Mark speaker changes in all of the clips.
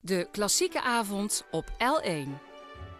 Speaker 1: De klassieke avond op L1.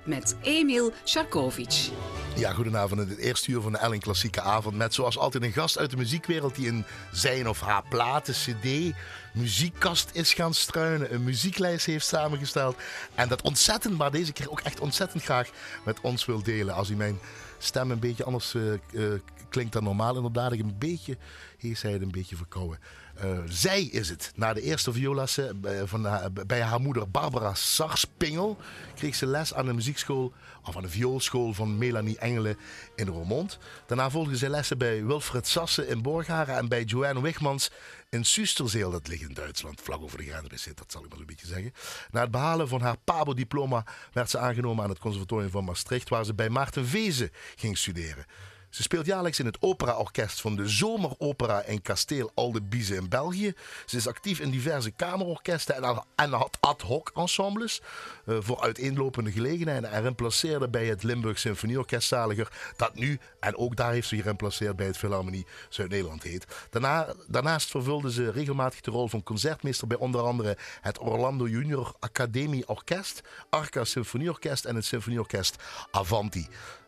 Speaker 1: Met Emil Sharkovic.
Speaker 2: Ja, goedenavond in het eerste uur van de Ellen Klassieke Avond. Met zoals altijd een gast uit de muziekwereld die in zijn of haar platen, cd, muziekkast is gaan struinen. Een muzieklijst heeft samengesteld. En dat ontzettend, maar deze keer ook echt ontzettend graag met ons wil delen. Als hij mijn stem een beetje anders eh, eh, klinkt dan normaal. Inderdaad, ik een beetje, hier zei het een beetje verkouden. Eh, zij is het. Na de eerste violassen van haar- eh, bij haar moeder Barbara Sarspingel kreeg ze les aan de muziekschool of aan de vioolschool van Melanie Engelen in Roermond. Daarna volgde ze lessen bij Wilfred Sassen in Borgharen en bij Joanne Wigmans in Susterzeel. Dat ligt in Duitsland, vlak over de grens bij zit, dat zal ik maar zo'n beetje zeggen. Na het behalen van haar Pabo-diploma werd ze aangenomen aan het conservatorium van Maastricht, waar ze bij Maarten Vezen ging studeren. Ze speelt jaarlijks in het operaorkest van de Zomeropera in Kasteel Aldebize in België. Ze is actief in diverse kamerorkesten en, al- en had ad hoc ensembles eh, voor uiteenlopende gelegenheden. En remplaceerde bij het Limburg Symfonieorkest Zaliger, dat nu, en ook daar heeft ze geremplaceerd bij het Philharmonie Zuid-Nederland heet. Daarna, daarnaast vervulde ze regelmatig de rol van concertmeester bij onder andere het Orlando Junior Academie Orkest, Arca Symfonieorkest en het Symfonieorkest Avanti.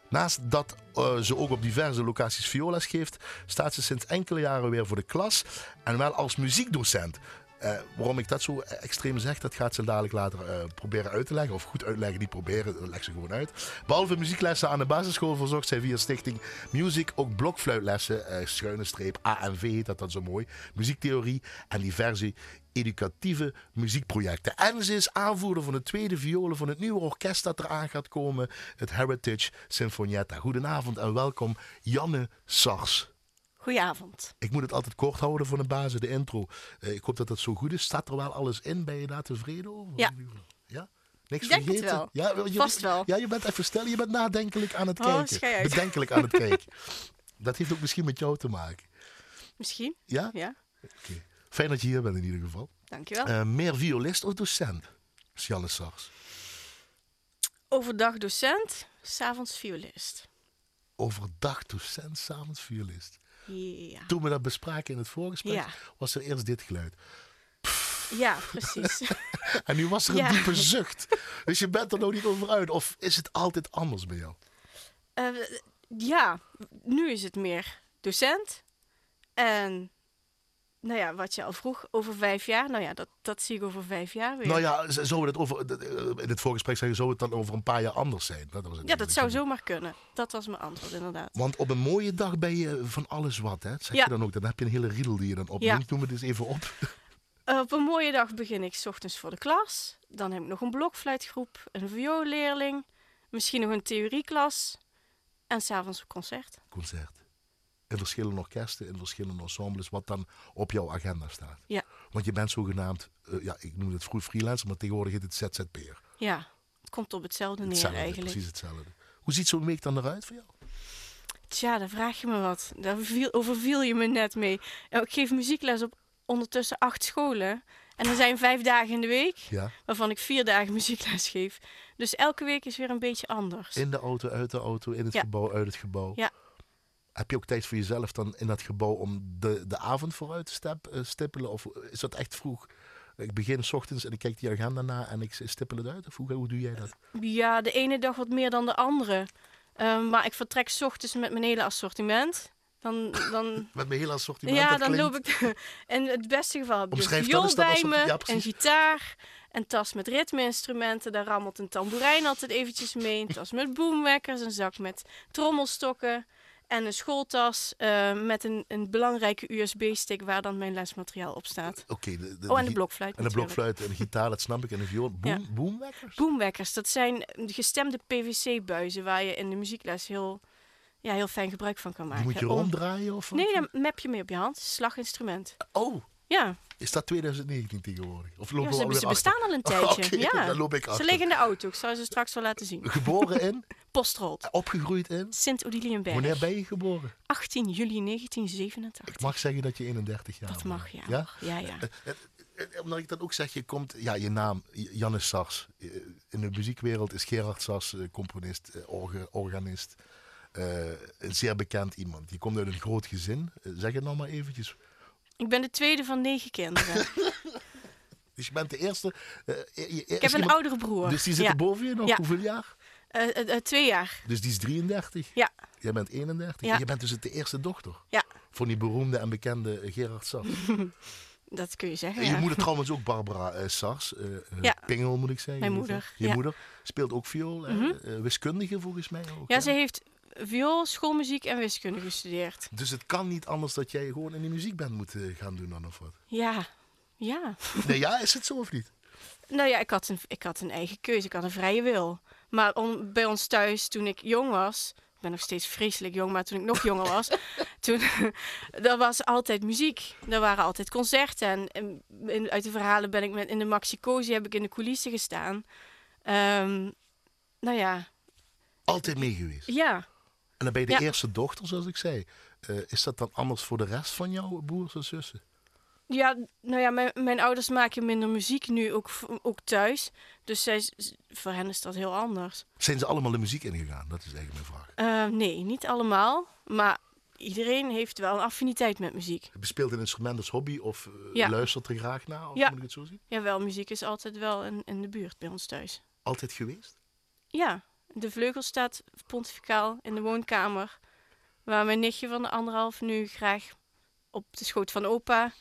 Speaker 2: Naast dat eh, ze ook op diverse locaties violas geeft, staat ze sinds enkele jaren weer voor de klas en wel als muziekdocent. Eh, waarom ik dat zo extreem zeg, dat gaat ze dadelijk later eh, proberen uit te leggen. Of goed uitleggen, niet proberen, dat legt ze gewoon uit. Behalve muzieklessen aan de basisschool verzorgt zij via Stichting Music ook blokfluitlessen, eh, schuine streep, AMV heet dat dan zo mooi, muziektheorie en diverse educatieve muziekprojecten. En ze is aanvoerder van de tweede violen van het nieuwe orkest dat eraan gaat komen, het Heritage Sinfonietta. Goedenavond en welkom, Janne Sars.
Speaker 3: Goedenavond.
Speaker 2: Ik moet het altijd kort houden voor de basis, de intro. Eh, ik hoop dat dat zo goed is. Staat er wel alles in? Ben je daar tevreden over?
Speaker 3: Ja.
Speaker 2: Ja? Niks
Speaker 3: Ik denk het
Speaker 2: vergeten?
Speaker 3: wel.
Speaker 2: Ja, wel, je,
Speaker 3: Vast wel.
Speaker 2: Ja, je bent even stil. Je bent nadenkelijk aan het
Speaker 3: Oh,
Speaker 2: kijken.
Speaker 3: schei uit.
Speaker 2: Bedenkelijk aan het kijken. Dat heeft ook misschien met jou te maken.
Speaker 3: Misschien?
Speaker 2: Ja?
Speaker 3: Ja, Oh.
Speaker 2: Oké. Fijn dat je hier bent in ieder geval.
Speaker 3: dankjewel.
Speaker 2: Eh, meer violist of docent? Is Janne Sars.
Speaker 3: Overdag docent, s'avonds violist.
Speaker 2: Overdag docent, s'avonds violist.
Speaker 3: Ja,
Speaker 2: Toen we dat bespraken in het voorgesprek,
Speaker 3: Ja.
Speaker 2: was er eerst dit geluid.
Speaker 3: ja precies.
Speaker 2: En nu was er een
Speaker 3: Ja.
Speaker 2: diepe zucht. Dus je bent er nog niet over uit. Of is het altijd anders bij jou?
Speaker 3: Eh, ja, nu is het meer docent. En nou ja, wat je al vroeg, over vijf jaar. Nou ja, dat, dat zie ik over vijf jaar weer.
Speaker 2: Nou ja, z- zou het over, d- eh, in het voorgesprek zeggen, zou het dan over een paar jaar anders zijn? Dat was het
Speaker 3: ja, dat
Speaker 2: eigenlijk.
Speaker 3: zou zomaar kunnen. Dat was mijn antwoord, inderdaad.
Speaker 2: Want op een mooie dag ben je van alles wat, hè? Dat Zeg
Speaker 3: Ja.
Speaker 2: je dan ook. Dan heb je een hele riedel die je dan opnoemt.
Speaker 3: Ja.
Speaker 2: Noem het eens even op.
Speaker 3: Eh, op een mooie dag begin ik 's ochtends voor de klas. Dan heb ik nog een blokfluitgroep, een vioolleerling, misschien nog een theorieklas. En s'avonds een concert.
Speaker 2: concert. In verschillende orkesten, in verschillende ensembles, wat dan op jouw agenda staat.
Speaker 3: Ja.
Speaker 2: Want je bent zogenaamd, eh, ja, ik noemde het vroeg freelancer, maar tegenwoordig heet het ZZP'er.
Speaker 3: Ja, het komt op hetzelfde neer
Speaker 2: Hetzelfde,
Speaker 3: eigenlijk.
Speaker 2: precies hetzelfde. Hoe ziet zo'n week dan eruit voor jou?
Speaker 3: Tja, daar vraag je me wat. Daar viel, overviel je me net mee. Nou, Ik geef muziekles op ondertussen acht scholen. En er zijn vijf dagen in de week,
Speaker 2: Ja,
Speaker 3: waarvan ik vier dagen muziekles geef. Dus elke week is weer een beetje anders.
Speaker 2: in de auto, uit de auto, in het
Speaker 3: Ja.
Speaker 2: gebouw, uit het gebouw.
Speaker 3: Ja.
Speaker 2: Heb je ook tijd voor jezelf dan in dat gebouw om de, de avond vooruit te step, eh, stippelen? Of is dat echt vroeg? Ik begin 's ochtends en ik kijk die agenda na en ik stippel het uit? Of hoe, hoe doe jij dat?
Speaker 3: Ja, de ene dag wat meer dan de andere. Eh, maar ik vertrek 's ochtends met mijn hele assortiment. Dan, dan,
Speaker 2: Met mijn hele assortiment,
Speaker 3: ja,
Speaker 2: dat
Speaker 3: dan
Speaker 2: klinkt-
Speaker 3: loop ik... In het beste geval heb ik
Speaker 2: Omschrijf
Speaker 3: een
Speaker 2: dat eens,
Speaker 3: viool
Speaker 2: dat
Speaker 3: bij
Speaker 2: was op-
Speaker 3: me,
Speaker 2: ja,
Speaker 3: een
Speaker 2: precies.
Speaker 3: gitaar, een tas met ritmeinstrumenten. Daar rammelt een tamboerijn altijd eventjes mee. Een tas met boomwekkers, een zak met trommelstokken. En een schooltas eh, met een, een belangrijke USB-stick waar dan mijn lesmateriaal op staat.
Speaker 2: Oké, de, de,
Speaker 3: Oh, en de
Speaker 2: gi-
Speaker 3: blokfluit
Speaker 2: Eh, En de
Speaker 3: natuurlijk.
Speaker 2: blokfluit en de gitaar, dat snap ik. En de viool. Boom, Boomwekkers?
Speaker 3: Boomwekkers, dat zijn gestemde PVC-buizen waar je in de muziekles heel, ja, heel fijn gebruik van kan
Speaker 2: Die
Speaker 3: maken.
Speaker 2: moet je
Speaker 3: Om-
Speaker 2: ronddraaien of wat?
Speaker 3: oh. Nee, dan map je mee op je hand. Slaginstrument.
Speaker 2: Oh,
Speaker 3: Ja,
Speaker 2: is dat 2019 tegenwoordig? Of
Speaker 3: ja
Speaker 2: lopen we
Speaker 3: ze,
Speaker 2: alweer
Speaker 3: ze
Speaker 2: achter?
Speaker 3: bestaan al een tijdje.
Speaker 2: Oké,
Speaker 3: ja.
Speaker 2: dan loop ik
Speaker 3: Ze
Speaker 2: achter.
Speaker 3: liggen in de auto, ik zou ze straks wel laten zien.
Speaker 2: Geboren in,
Speaker 3: Postrood,
Speaker 2: opgegroeid in. Wanneer
Speaker 3: Sint-Odiliënberg,
Speaker 2: ben je geboren?
Speaker 3: 18 juli 1987.
Speaker 2: Ik mag zeggen dat je 31 jaar
Speaker 3: Dat
Speaker 2: bent.
Speaker 3: mag, ja.
Speaker 2: Ja?
Speaker 3: Ja, ja.
Speaker 2: Eh, Omdat ik dat ook zeg, je komt, ja, je naam, J- Jannes Sars. Eh, In de muziekwereld is Gerard Sars eh, componist, eh, orge- organist. Eh, een zeer bekend iemand. Je komt uit een groot gezin. Eh, Zeg het nou maar eventjes.
Speaker 3: Ik ben de tweede van negen kinderen.
Speaker 2: Dus je bent de eerste. eh, je- je-
Speaker 3: Ik heb een oudere broer.
Speaker 2: Dus die zit
Speaker 3: ja.
Speaker 2: er boven je nog?
Speaker 3: Ja.
Speaker 2: Hoeveel jaar?
Speaker 3: Eh, eh, eh, twee jaar.
Speaker 2: Dus die is 33.
Speaker 3: Ja.
Speaker 2: Jij bent 31.
Speaker 3: Ja.
Speaker 2: Je bent dus de eerste dochter.
Speaker 3: Ja.
Speaker 2: Van die beroemde en bekende Gerard Sars.
Speaker 3: Dat kun je zeggen.
Speaker 2: En je
Speaker 3: ja.
Speaker 2: moeder trouwens ook Barbara eh, Sars. eh, eh,
Speaker 3: Ja.
Speaker 2: Pingel moet ik zeggen.
Speaker 3: Mijn
Speaker 2: in
Speaker 3: moeder,
Speaker 2: ieder geval. Je
Speaker 3: ja. Mhm.
Speaker 2: moeder speelt ook viool. eh, eh, wiskundige volgens mij ook.
Speaker 3: Ja,
Speaker 2: hè?
Speaker 3: ze heeft viool, schoolmuziek en wiskunde gestudeerd.
Speaker 2: Dus het kan niet anders dat jij gewoon in die muziekband moet eh, gaan doen dan of wat.
Speaker 3: Ja. Ja.
Speaker 2: Nee, ja, is het zo of niet?
Speaker 3: Nou ja, ik had, een, ik had een eigen keuze. Ik had een vrije wil. Maar om, bij ons thuis, toen ik jong was... Ik ben nog steeds vreselijk jong, maar toen ik nog jonger was... toen, er was altijd muziek. Er waren altijd concerten. En, en in- uit de verhalen ben ik met, in de Maxi Cosi heb ik in de coulissen gestaan. Ehm, nou ja,
Speaker 2: Altijd mee geweest.
Speaker 3: ja.
Speaker 2: En dan ben je de
Speaker 3: Ja.
Speaker 2: eerste dochter, zoals ik zei. Eh, is dat dan anders voor de rest van jouw broers en zussen?
Speaker 3: Ja, nou ja, mijn, mijn ouders maken minder muziek nu, ook, v- ook thuis. Dus zij, z- voor hen is dat heel anders.
Speaker 2: Zijn ze allemaal de muziek ingegaan? Dat is eigenlijk mijn vraag.
Speaker 3: Eh, nee, niet allemaal. Maar iedereen heeft wel een affiniteit met muziek.
Speaker 2: Je speelt een instrument als hobby of eh,
Speaker 3: Ja.
Speaker 2: luistert er graag naar? Of
Speaker 3: Ja.
Speaker 2: moet ik het zo zien?
Speaker 3: Jawel, muziek is altijd wel in, in de buurt bij ons thuis.
Speaker 2: Altijd geweest?
Speaker 3: Ja, de vleugel staat pontificaal in de woonkamer. Waar mijn nichtje van de anderhalf nu graag op de schoot van opa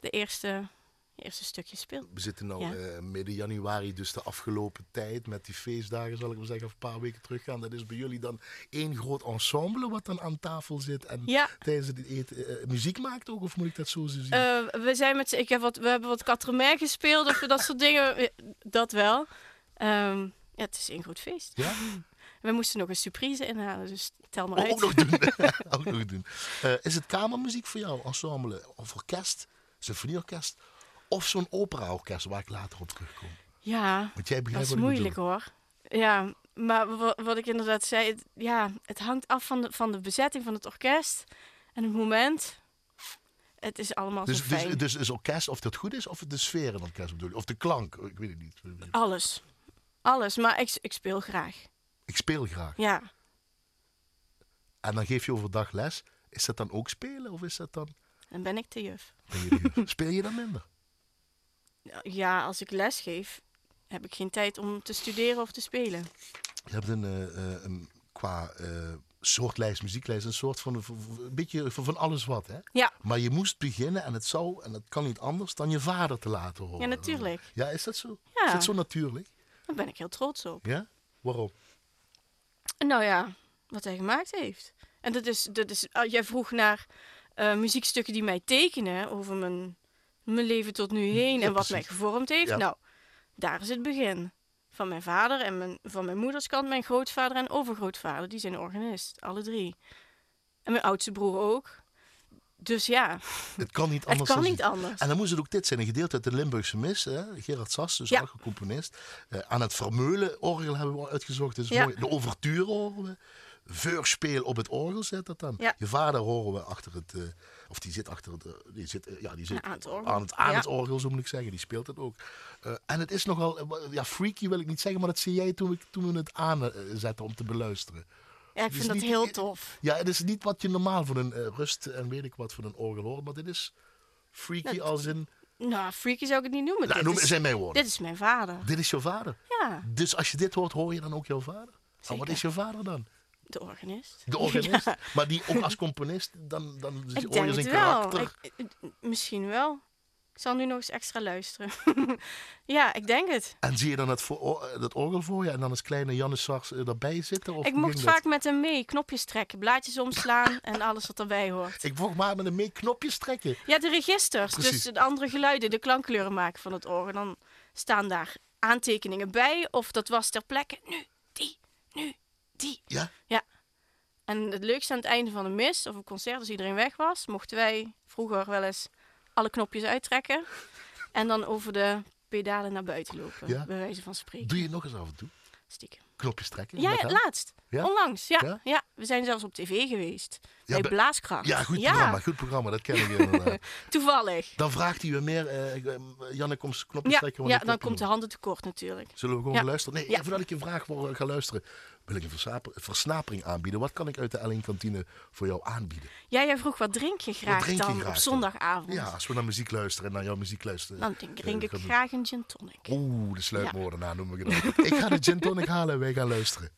Speaker 3: de eerste, eerste stukje speelt.
Speaker 2: We zitten nu
Speaker 3: Ja.
Speaker 2: midden januari, dus de afgelopen tijd met die feestdagen, zal ik maar zeggen, of een paar weken teruggaan. Dat is bij jullie dan één groot ensemble wat dan aan tafel zit en
Speaker 3: Ja.
Speaker 2: tijdens het eten eh, muziek maakt ook? Of moet ik dat zo zien?
Speaker 3: Eh, we, zijn met, z'n- ik heb wat, we hebben wat Catremair gespeeld of dat soort dingen. eh, Dat wel. Ehm, ja, het is een groot feest.
Speaker 2: ja?
Speaker 3: We moesten nog een surprise inhalen, dus tel maar
Speaker 2: Oh,
Speaker 3: uit.
Speaker 2: ook nog doen. ook nog doen. Eh, is het kamermuziek voor jou, ensemble of orkest, symfonieorkest of zo'n operaorkest waar ik later op terugkom?
Speaker 3: Ja,
Speaker 2: Want jij
Speaker 3: dat
Speaker 2: begrijpt
Speaker 3: is
Speaker 2: wat ik
Speaker 3: moeilijk
Speaker 2: bedoel.
Speaker 3: hoor. Ja, maar wa- wat ik inderdaad zei, het, ja, het hangt af van de, van de bezetting van het orkest en het moment. Het is allemaal zo
Speaker 2: Dus,
Speaker 3: fijn.
Speaker 2: dus, dus is orkest, of dat goed is, of de sfeer in het orkest bedoel je? Of de klank, ik weet het niet.
Speaker 3: Alles. Alles, maar ik, ik speel graag.
Speaker 2: Ik speel graag.
Speaker 3: Ja.
Speaker 2: En dan geef je overdag les. Is dat dan ook spelen of is dat dan...
Speaker 3: Dan ben ik de juf.
Speaker 2: ben je de juf? Speel je dan minder?
Speaker 3: Ja, als ik les geef, heb ik geen tijd om te studeren of te spelen.
Speaker 2: Je hebt een, eh, eh, een qua eh, soortlijst, muzieklijst, een soort van, van- van- een beetje van, van alles wat, hè?
Speaker 3: Ja.
Speaker 2: Maar je moest beginnen en het zou, en dat kan niet anders, dan je vader te laten horen.
Speaker 3: Ja, natuurlijk.
Speaker 2: Ja, is dat zo?
Speaker 3: Ja.
Speaker 2: Is dat zo natuurlijk?
Speaker 3: Daar ben ik heel trots op.
Speaker 2: Ja? Waarom?
Speaker 3: Nou ja, wat hij gemaakt heeft. En dat is, dat is ah, jij vroeg naar eh, muziekstukken die mij tekenen over mijn, mijn leven tot nu heen
Speaker 2: Ja,
Speaker 3: en wat mij
Speaker 2: precies.
Speaker 3: gevormd heeft.
Speaker 2: Ja.
Speaker 3: Nou, daar is het begin. Van mijn vader en mijn, van mijn moeders kant, mijn grootvader en overgrootvader, die zijn organist, alle drie. En mijn oudste broer ook. Dus ja,
Speaker 2: Het kan niet
Speaker 3: het
Speaker 2: anders.
Speaker 3: kan
Speaker 2: dan-
Speaker 3: niet anders.
Speaker 2: En dan moest het ook dit zijn, een gedeelte uit de Limburgse mis. Hè? Gerard Sas, dus
Speaker 3: Ja.
Speaker 2: ja. componist. Eh, aan het Vermeulen-orgel hebben we uitgezocht. Dat is
Speaker 3: Ja.
Speaker 2: mooi. De overture horen we. Veurspeel op het orgel zit dat dan.
Speaker 3: Ja.
Speaker 2: Je vader horen we achter het... eh, of die zit achter het... eh, die zit, eh, ja, die zit
Speaker 3: Aan het orgel.
Speaker 2: Aan het, aan
Speaker 3: Ja.
Speaker 2: het orgel, zo moet ik zeggen. Die speelt het ook. Eh, en het is nogal... eh, wa- ja, freaky wil ik niet zeggen, maar dat zie jij toen, ik, toen we het aanzetten om te beluisteren.
Speaker 3: Ja, ik
Speaker 2: Dus
Speaker 3: vind dat
Speaker 2: niet-
Speaker 3: heel tof.
Speaker 2: Ja, het is niet wat je normaal voor een eh, rust en weet ik wat voor een orgel hoort. Maar dit is freaky als in...
Speaker 3: Nou, freaky zou ik het niet noemen.
Speaker 2: Nou,
Speaker 3: dit,
Speaker 2: noem,
Speaker 3: is,
Speaker 2: zijn mijn woorden.
Speaker 3: dit is mijn vader.
Speaker 2: Dit is jouw vader.
Speaker 3: Ja,
Speaker 2: Dus als je dit hoort, hoor je dan ook jouw vader? En wat
Speaker 3: Zeker.
Speaker 2: is jouw vader dan?
Speaker 3: de organist.
Speaker 2: De organist? Maar die ook als componist, dan, dan
Speaker 3: Ik
Speaker 2: hoor
Speaker 3: denk
Speaker 2: je
Speaker 3: het
Speaker 2: zijn
Speaker 3: wel.
Speaker 2: karakter.
Speaker 3: Ik- ik- misschien wel. Ik zal nu nog eens extra luisteren. ja, ik denk het.
Speaker 2: En zie je dan dat, voor, o- dat orgel voor je en dan als kleine Janus Sars eh, daarbij zitten? Of
Speaker 3: ik
Speaker 2: hoe
Speaker 3: mocht
Speaker 2: ging dat?
Speaker 3: vaak met hem mee knopjes trekken, blaadjes omslaan en alles wat erbij hoort.
Speaker 2: Ik mocht maar met een mee knopjes trekken.
Speaker 3: Ja, de registers,
Speaker 2: Precies.
Speaker 3: dus de andere geluiden, de klankkleuren maken van het orgel. Dan staan daar aantekeningen bij of dat was ter plekke. Nu, die, nu, die.
Speaker 2: Ja?
Speaker 3: En het leukste aan het einde van een mis of een concert, als iedereen weg was, mochten wij vroeger wel eens alle knopjes uittrekken. En dan over de pedalen naar buiten lopen,
Speaker 2: Ja.
Speaker 3: bij wijze van spreken.
Speaker 2: Doe je het nog eens af en toe?
Speaker 3: Stiekem.
Speaker 2: Knopjes trekken?
Speaker 3: Ja,
Speaker 2: met
Speaker 3: ja,
Speaker 2: hem?
Speaker 3: laatst.
Speaker 2: Ja?
Speaker 3: Onlangs, ja,
Speaker 2: Ja?
Speaker 3: ja. We zijn zelfs op tv geweest.
Speaker 2: Ja,
Speaker 3: nee,
Speaker 2: be-
Speaker 3: Blaaskracht.
Speaker 2: Ja, goed programma, goed programma, dat ken ik inderdaad.
Speaker 3: toevallig.
Speaker 2: Dan vraagt hij weer meer. eh, ik, eh, Janne, kom eens knopjes
Speaker 3: Ja,
Speaker 2: trekken. want
Speaker 3: ja
Speaker 2: ik
Speaker 3: dan
Speaker 2: heb
Speaker 3: komt de
Speaker 2: hem.
Speaker 3: handen tekort natuurlijk.
Speaker 2: Zullen we gewoon
Speaker 3: Ja.
Speaker 2: gaan luisteren? Nee,
Speaker 3: Ja.
Speaker 2: ja. voordat ik je vraag voor ga luisteren, wil ik een versap- versnapering aanbieden. Wat kan ik uit de Ellen kantine voor jou aanbieden?
Speaker 3: Ja, jij vroeg wat drink je graag
Speaker 2: drink je
Speaker 3: dan
Speaker 2: graag
Speaker 3: op
Speaker 2: dan?
Speaker 3: zondagavond?
Speaker 2: Ja, als we naar muziek luisteren en naar jouw muziek luisteren.
Speaker 3: Dan denk ik, drink
Speaker 2: eh,
Speaker 3: ik
Speaker 2: gaan we-
Speaker 3: graag een gin tonic.
Speaker 2: Oeh, de sluipmoordenaar noemen we het dan. ik ga de gin tonic halen en wij gaan luisteren.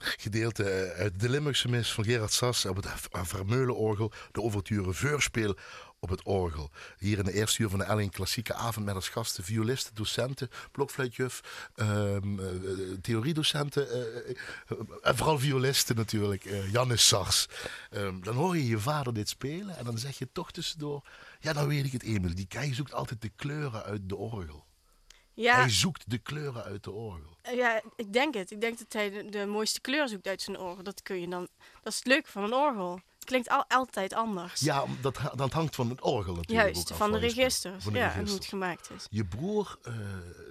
Speaker 2: gedeelte eh, uit de Limburgse mis van Gerard Sas op het Vermeulenorgel, de overture Veurspeel op het orgel. Hier in de eerste uur van de Elling Klassieke Avond met als gasten violisten, docenten, blokfluitjuf, ehm, eh, theoriedocenten eh, eh, en vooral violisten natuurlijk, eh Jannes Sars. Ehm, dan hoor je je vader dit spelen en dan zeg je toch tussendoor, ja dan weet ik het Emil, die kei zoekt altijd de kleuren uit de orgel.
Speaker 3: Ja,
Speaker 2: Hij zoekt de kleuren uit de orgel.
Speaker 3: ja, ik denk het. Ik denk dat hij de, de mooiste kleur zoekt uit zijn orgel. Dat kun je dan. Dat is het leuke van een orgel. Het klinkt al, altijd anders.
Speaker 2: Ja, om- dat, ha- dat hangt van het orgel natuurlijk ook
Speaker 3: Juist,
Speaker 2: af,
Speaker 3: van de
Speaker 2: waar je speelt.
Speaker 3: registers.
Speaker 2: Van de
Speaker 3: ja, en hoe
Speaker 2: registers.
Speaker 3: het gemaakt is.
Speaker 2: Je broer, eh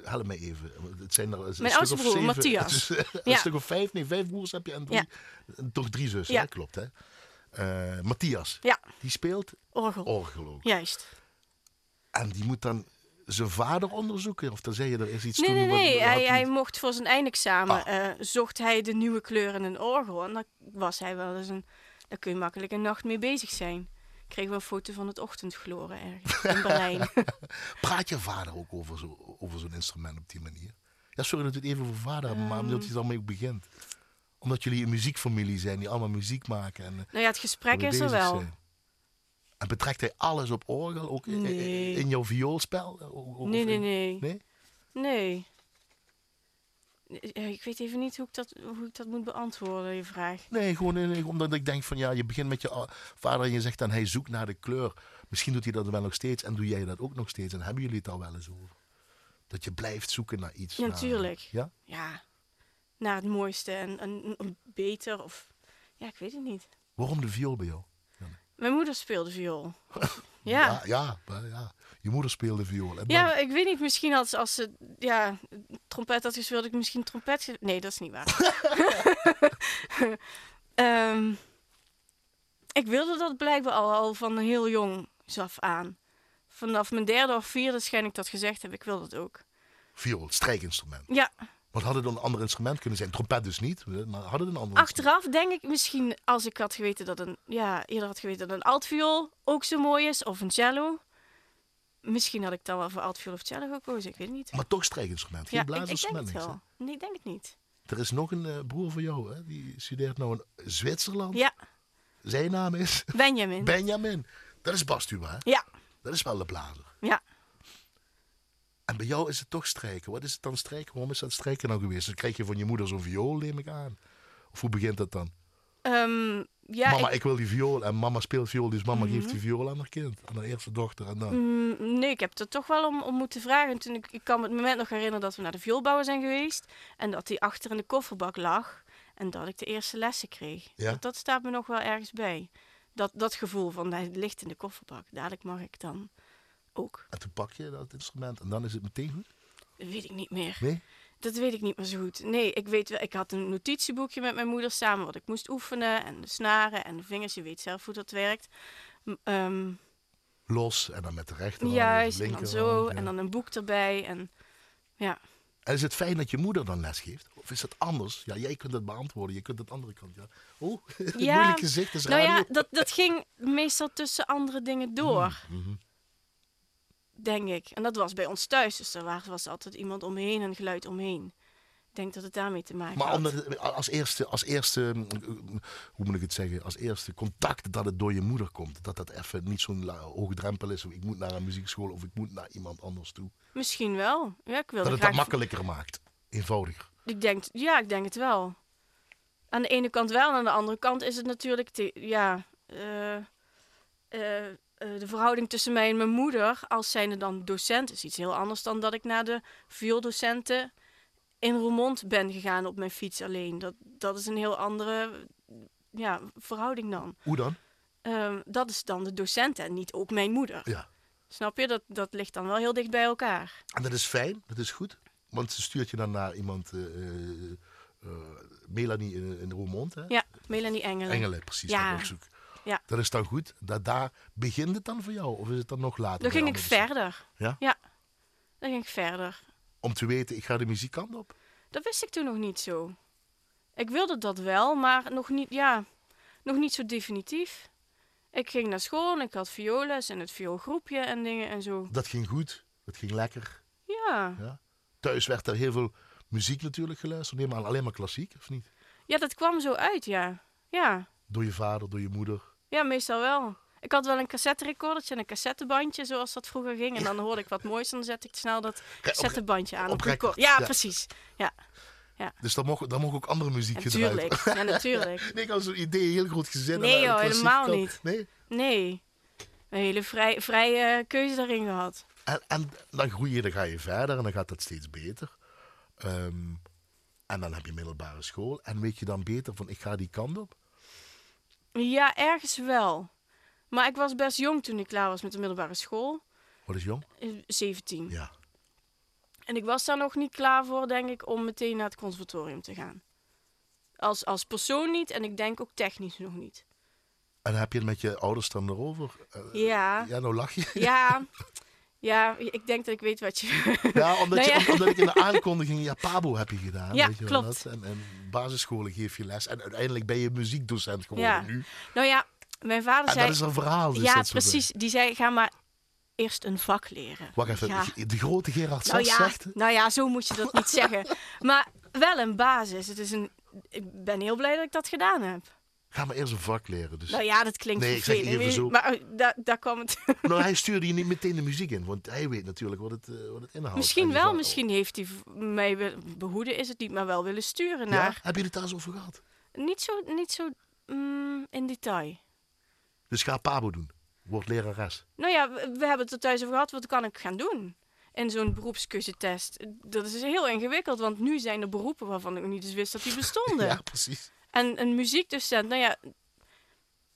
Speaker 2: help mij even. Het zijn er eh, een stuk
Speaker 3: oudste
Speaker 2: of
Speaker 3: broer,
Speaker 2: zeven-
Speaker 3: Matthias.
Speaker 2: het is, eh, Een
Speaker 3: Ja.
Speaker 2: stuk of vijf, nee, vijf broers heb je en drie, toch drie zussen,
Speaker 3: Ja.
Speaker 2: hè? klopt hè? Eh, Matthias,
Speaker 3: Ja,
Speaker 2: die speelt
Speaker 3: orgel.
Speaker 2: orgel ook.
Speaker 3: Juist.
Speaker 2: En die moet dan zijn vader onderzoeken? Of dan zei je, er is iets
Speaker 3: Nee,
Speaker 2: toen...
Speaker 3: nee,
Speaker 2: wat-
Speaker 3: nee.
Speaker 2: wat
Speaker 3: Hij,
Speaker 2: hij-
Speaker 3: hij mocht voor zijn eindexamen,
Speaker 2: Ah.
Speaker 3: eh, zocht hij de nieuwe kleur in een orgel. En daar was hij wel eens een... Daar kun je makkelijk een nacht mee bezig zijn. Ik kreeg wel een foto van het ochtendgloren ergens in Berlijn.
Speaker 2: Praat je vader ook over zo- over zo'n instrument op die manier? Ja, sorry dat we het even over vader hebben,
Speaker 3: Ehm.
Speaker 2: maar omdat hij er mee ook begint. Omdat jullie een muziekfamilie zijn, die allemaal muziek maken en... eh,
Speaker 3: nou ja, het gesprek
Speaker 2: Hoe
Speaker 3: is er
Speaker 2: bezig
Speaker 3: wel.
Speaker 2: zijn. En betrekt hij alles op orgel, ook i- i-
Speaker 3: Nee.
Speaker 2: in jouw vioolspel? O- o-
Speaker 3: Nee,
Speaker 2: of
Speaker 3: nee,
Speaker 2: in-
Speaker 3: nee.
Speaker 2: Nee?
Speaker 3: Nee. Eh, Ik weet even niet hoe ik dat, hoe ik dat moet beantwoorden, je vraag.
Speaker 2: Nee, gewoon in- omdat ik denk van ja, je begint met je a- vader en je zegt dan hij zoekt naar de kleur. Misschien doet hij dat wel nog steeds en doe jij dat ook nog steeds. En hebben jullie het daar wel eens over? Dat je blijft zoeken naar iets.
Speaker 3: Ja,
Speaker 2: naar-
Speaker 3: tuurlijk.
Speaker 2: Ja?
Speaker 3: Ja, naar het mooiste en, en, en beter of... Ja, ik weet het niet.
Speaker 2: Waarom de viool bij jou?
Speaker 3: Mijn moeder speelde viool. ja.
Speaker 2: Ja, ja, maar ja. Je moeder speelde viool. En
Speaker 3: Ja,
Speaker 2: dan-
Speaker 3: ik weet niet. Misschien had ze, als ze ja, trompet had gespeeld, ik misschien trompet. ge- Nee, dat is niet waar. Ehm, ik wilde dat blijkbaar al, al van heel jong af aan. Vanaf mijn derde of vierde schijn ik dat gezegd heb. Ik wil dat ook.
Speaker 2: viool, strijkinstrument.
Speaker 3: Ja,
Speaker 2: Wat had het dan een ander instrument kunnen zijn? Trompet dus niet, maar had het een ander
Speaker 3: Achteraf denk ik misschien als ik had geweten dat een, ja, eerder had geweten dat een altviool ook zo mooi is, of een cello. Misschien had ik dan wel voor altviool of cello gekozen, ik weet het niet.
Speaker 2: Maar toch strijkinstrument, geen
Speaker 3: Ja, ik, ik denk
Speaker 2: blaasinstrument.
Speaker 3: het
Speaker 2: niks, hè?
Speaker 3: wel. Nee, ik denk het niet.
Speaker 2: Er is nog een eh, broer van jou, hè? die studeert nou in Zwitserland.
Speaker 3: Ja,
Speaker 2: Zijn naam is
Speaker 3: Benjamin.
Speaker 2: Benjamin. Dat is Bastua, hè?
Speaker 3: ja,
Speaker 2: Dat is wel de blazer.
Speaker 3: ja.
Speaker 2: En bij jou is het toch strijken. Wat is het dan strijken? Waarom is dat strijken nou geweest? Dan krijg je van je moeder zo'n viool, neem ik aan. Of hoe begint dat dan?
Speaker 3: Ehm, ja
Speaker 2: mama,
Speaker 3: ik- Mhm.
Speaker 2: ik... wil die viool. En mama speelt viool, dus mama geeft die viool aan haar kind. Aan haar eerste dochter. En dan.
Speaker 3: Mm, Nee, ik heb er toch wel om, om moeten vragen. En Toen ik, ik kan me het moment nog herinneren dat we naar de vioolbouwer zijn geweest. En dat die achter in de kofferbak lag. En dat ik de eerste lessen kreeg.
Speaker 2: Ja.
Speaker 3: Dat, dat staat me nog wel ergens bij. Dat, dat gevoel van hij ligt in de kofferbak. Dadelijk mag ik dan ook.
Speaker 2: En toen pak je dat instrument. En dan is het meteen goed.
Speaker 3: Dat weet ik niet meer.
Speaker 2: Nee?
Speaker 3: Dat weet ik niet meer zo goed. Nee, ik weet wel, ik had een notitieboekje met mijn moeder samen wat ik moest oefenen. En de snaren en de vingers. Je weet zelf hoe dat werkt. M- ehm,
Speaker 2: Los. En dan met de rechterhand.
Speaker 3: juist,
Speaker 2: de
Speaker 3: en dan
Speaker 2: linkerhand,
Speaker 3: zo.
Speaker 2: ja.
Speaker 3: En dan een boek erbij. En ja.
Speaker 2: En is het fijn dat je moeder dan les geeft? Of is dat anders? Ja, jij kunt dat beantwoorden. Je kunt het andere kant. Ja. Oh, een moeilijk gezicht is
Speaker 3: nou
Speaker 2: radio. Mhm,
Speaker 3: ja, dat, dat ging meestal tussen andere dingen door. Denk ik. En dat was bij ons thuis. Dus er wa- was altijd iemand omheen en geluid omheen. Ik denk dat het daarmee te maken
Speaker 2: Maar
Speaker 3: had.
Speaker 2: omdat het als eerste, als eerste, mm, hoe moet ik het zeggen, als eerste contact dat het door je moeder komt. Dat dat even niet zo'n la- hoge drempel is. Of ik moet naar een muziekschool of ik moet naar iemand anders toe.
Speaker 3: Misschien wel. Ja, ik wilde
Speaker 2: Dat het dat
Speaker 3: graag...
Speaker 2: makkelijker maakt. Eenvoudiger.
Speaker 3: ik denk, ja, ik denk het wel. Aan de ene kant wel. En aan de andere kant is het natuurlijk... te- ja, eh, eh, eh, de verhouding tussen mij en mijn moeder... als zijnde dan docent is iets heel anders... dan dat ik naar de viooldocenten in Roermond ben gegaan op mijn fiets alleen. Dat, dat is een heel andere ja, verhouding dan.
Speaker 2: Hoe dan?
Speaker 3: Ehm, dat is dan de docent en niet ook mijn moeder.
Speaker 2: Ja.
Speaker 3: Snap je? Dat, dat ligt dan wel heel dicht bij elkaar.
Speaker 2: En dat is fijn, dat is goed. Want ze stuurt je dan naar iemand, eh, eh, eh, Melanie in, in Roermond, hè?
Speaker 3: Ja, Melanie Engelen.
Speaker 2: Engelen, precies.
Speaker 3: Ja.
Speaker 2: Dat ik ook zoek.
Speaker 3: Ja.
Speaker 2: Dat is dan goed. Dat, daar begint het dan voor jou? Of is het dan nog later?
Speaker 3: Dan
Speaker 2: bij
Speaker 3: ging ik
Speaker 2: andere mensen?
Speaker 3: verder.
Speaker 2: Ja?
Speaker 3: Ja, dan ging ik verder.
Speaker 2: Om te weten, ik ga de muziekkant op.
Speaker 3: Dat wist ik toen nog niet zo. Ik wilde dat wel, maar nog niet, ja, nog niet zo definitief. Ik ging naar school en ik had violes en het vioolgroepje en dingen en zo.
Speaker 2: Dat ging goed. Dat ging lekker.
Speaker 3: Ja.
Speaker 2: Ja. Thuis werd er heel veel muziek natuurlijk geluisterd. Neem aan, alleen maar klassiek, of niet?
Speaker 3: Ja, dat kwam zo uit, ja. Ja,
Speaker 2: Door je vader, door je moeder.
Speaker 3: ja meestal wel. Ik had wel een cassetterecordertje en een cassettebandje, zoals dat vroeger ging. En dan hoorde ik wat moois en dan zette ik snel dat cassettebandje aan.
Speaker 2: op
Speaker 3: de
Speaker 2: record,
Speaker 3: record- Ja,
Speaker 2: ja.
Speaker 3: precies. Ja,
Speaker 2: Dus dan mocht, dan mocht ook andere muziek gedraaid
Speaker 3: natuurlijk. Ja, natuurlijk.
Speaker 2: Nee, ik had zo'n idee, heel groot gezin.
Speaker 3: Nee,
Speaker 2: en, eh,
Speaker 3: joh,
Speaker 2: klassiek
Speaker 3: helemaal
Speaker 2: kan-
Speaker 3: niet.
Speaker 2: Nee?
Speaker 3: Nee, een hele vrij, vrije keuze daarin gehad.
Speaker 2: En, en dan groei je, dan ga je verder en dan gaat dat steeds beter. Ehm, en dan heb je middelbare school. En weet je dan beter van, ik ga die kant op?
Speaker 3: Ja, ergens wel. Maar ik was best jong toen ik klaar was met de middelbare school.
Speaker 2: Wat is jong?
Speaker 3: eh, 17.
Speaker 2: Ja.
Speaker 3: En ik was daar nog niet klaar voor, denk ik, om meteen naar het conservatorium te gaan. Als, als persoon niet en ik denk ook technisch nog niet.
Speaker 2: En heb je het met je ouders dan erover? Eh,
Speaker 3: Ja, ja.
Speaker 2: ja, nou lach je.
Speaker 3: Ja, ik denk dat ik weet wat je...
Speaker 2: Ja, omdat,
Speaker 3: Nou
Speaker 2: je-
Speaker 3: ja.
Speaker 2: omdat ik in de aankondiging, ja, Pabo heb je gedaan.
Speaker 3: Ja,
Speaker 2: weet je wel
Speaker 3: klopt.
Speaker 2: dat? En, en basisscholen geef je les. En uiteindelijk ben je muziekdocent geworden
Speaker 3: Ja.
Speaker 2: nu.
Speaker 3: Nou ja, mijn vader
Speaker 2: En
Speaker 3: zei...
Speaker 2: dat is een verhaal. Dus
Speaker 3: ja,
Speaker 2: dat soort
Speaker 3: precies. Die zei, ga maar eerst een vak leren.
Speaker 2: dingen. Wacht even,
Speaker 3: Ja.
Speaker 2: de grote Gerard
Speaker 3: Nou
Speaker 2: Sas
Speaker 3: ja,
Speaker 2: zegt...
Speaker 3: nou ja, zo moet je dat niet zeggen. Maar wel een basis. Het is een, ik ben heel blij dat ik dat gedaan heb.
Speaker 2: Ga maar eerst een vak leren. Dus.
Speaker 3: Nou ja, dat klinkt
Speaker 2: Nee, ik zeg
Speaker 3: vervelend.
Speaker 2: even zo.
Speaker 3: Maar eh, daar, daar kwam het.
Speaker 2: Nou, hij stuurde je niet meteen de muziek in. Want hij weet natuurlijk wat het, eh, wat het inhoudt. En
Speaker 3: misschien
Speaker 2: je
Speaker 3: wel,
Speaker 2: zal-
Speaker 3: misschien heeft hij v- mij wil- behoeden, is het niet, maar wel willen sturen
Speaker 2: Ja?
Speaker 3: naar.
Speaker 2: Heb je het daar eens over gehad?
Speaker 3: Niet zo, niet zo mm, in detail.
Speaker 2: Dus ga Pabo doen. Word lerares.
Speaker 3: Nou ja, we, we hebben het er thuis over gehad. Wat kan ik gaan doen? In zo'n beroepskeuzetest. Dat is heel ingewikkeld, want nu zijn er beroepen waarvan ik niet eens wist dat die bestonden.
Speaker 2: Ja, precies.
Speaker 3: En een muziekdocent, nou ja,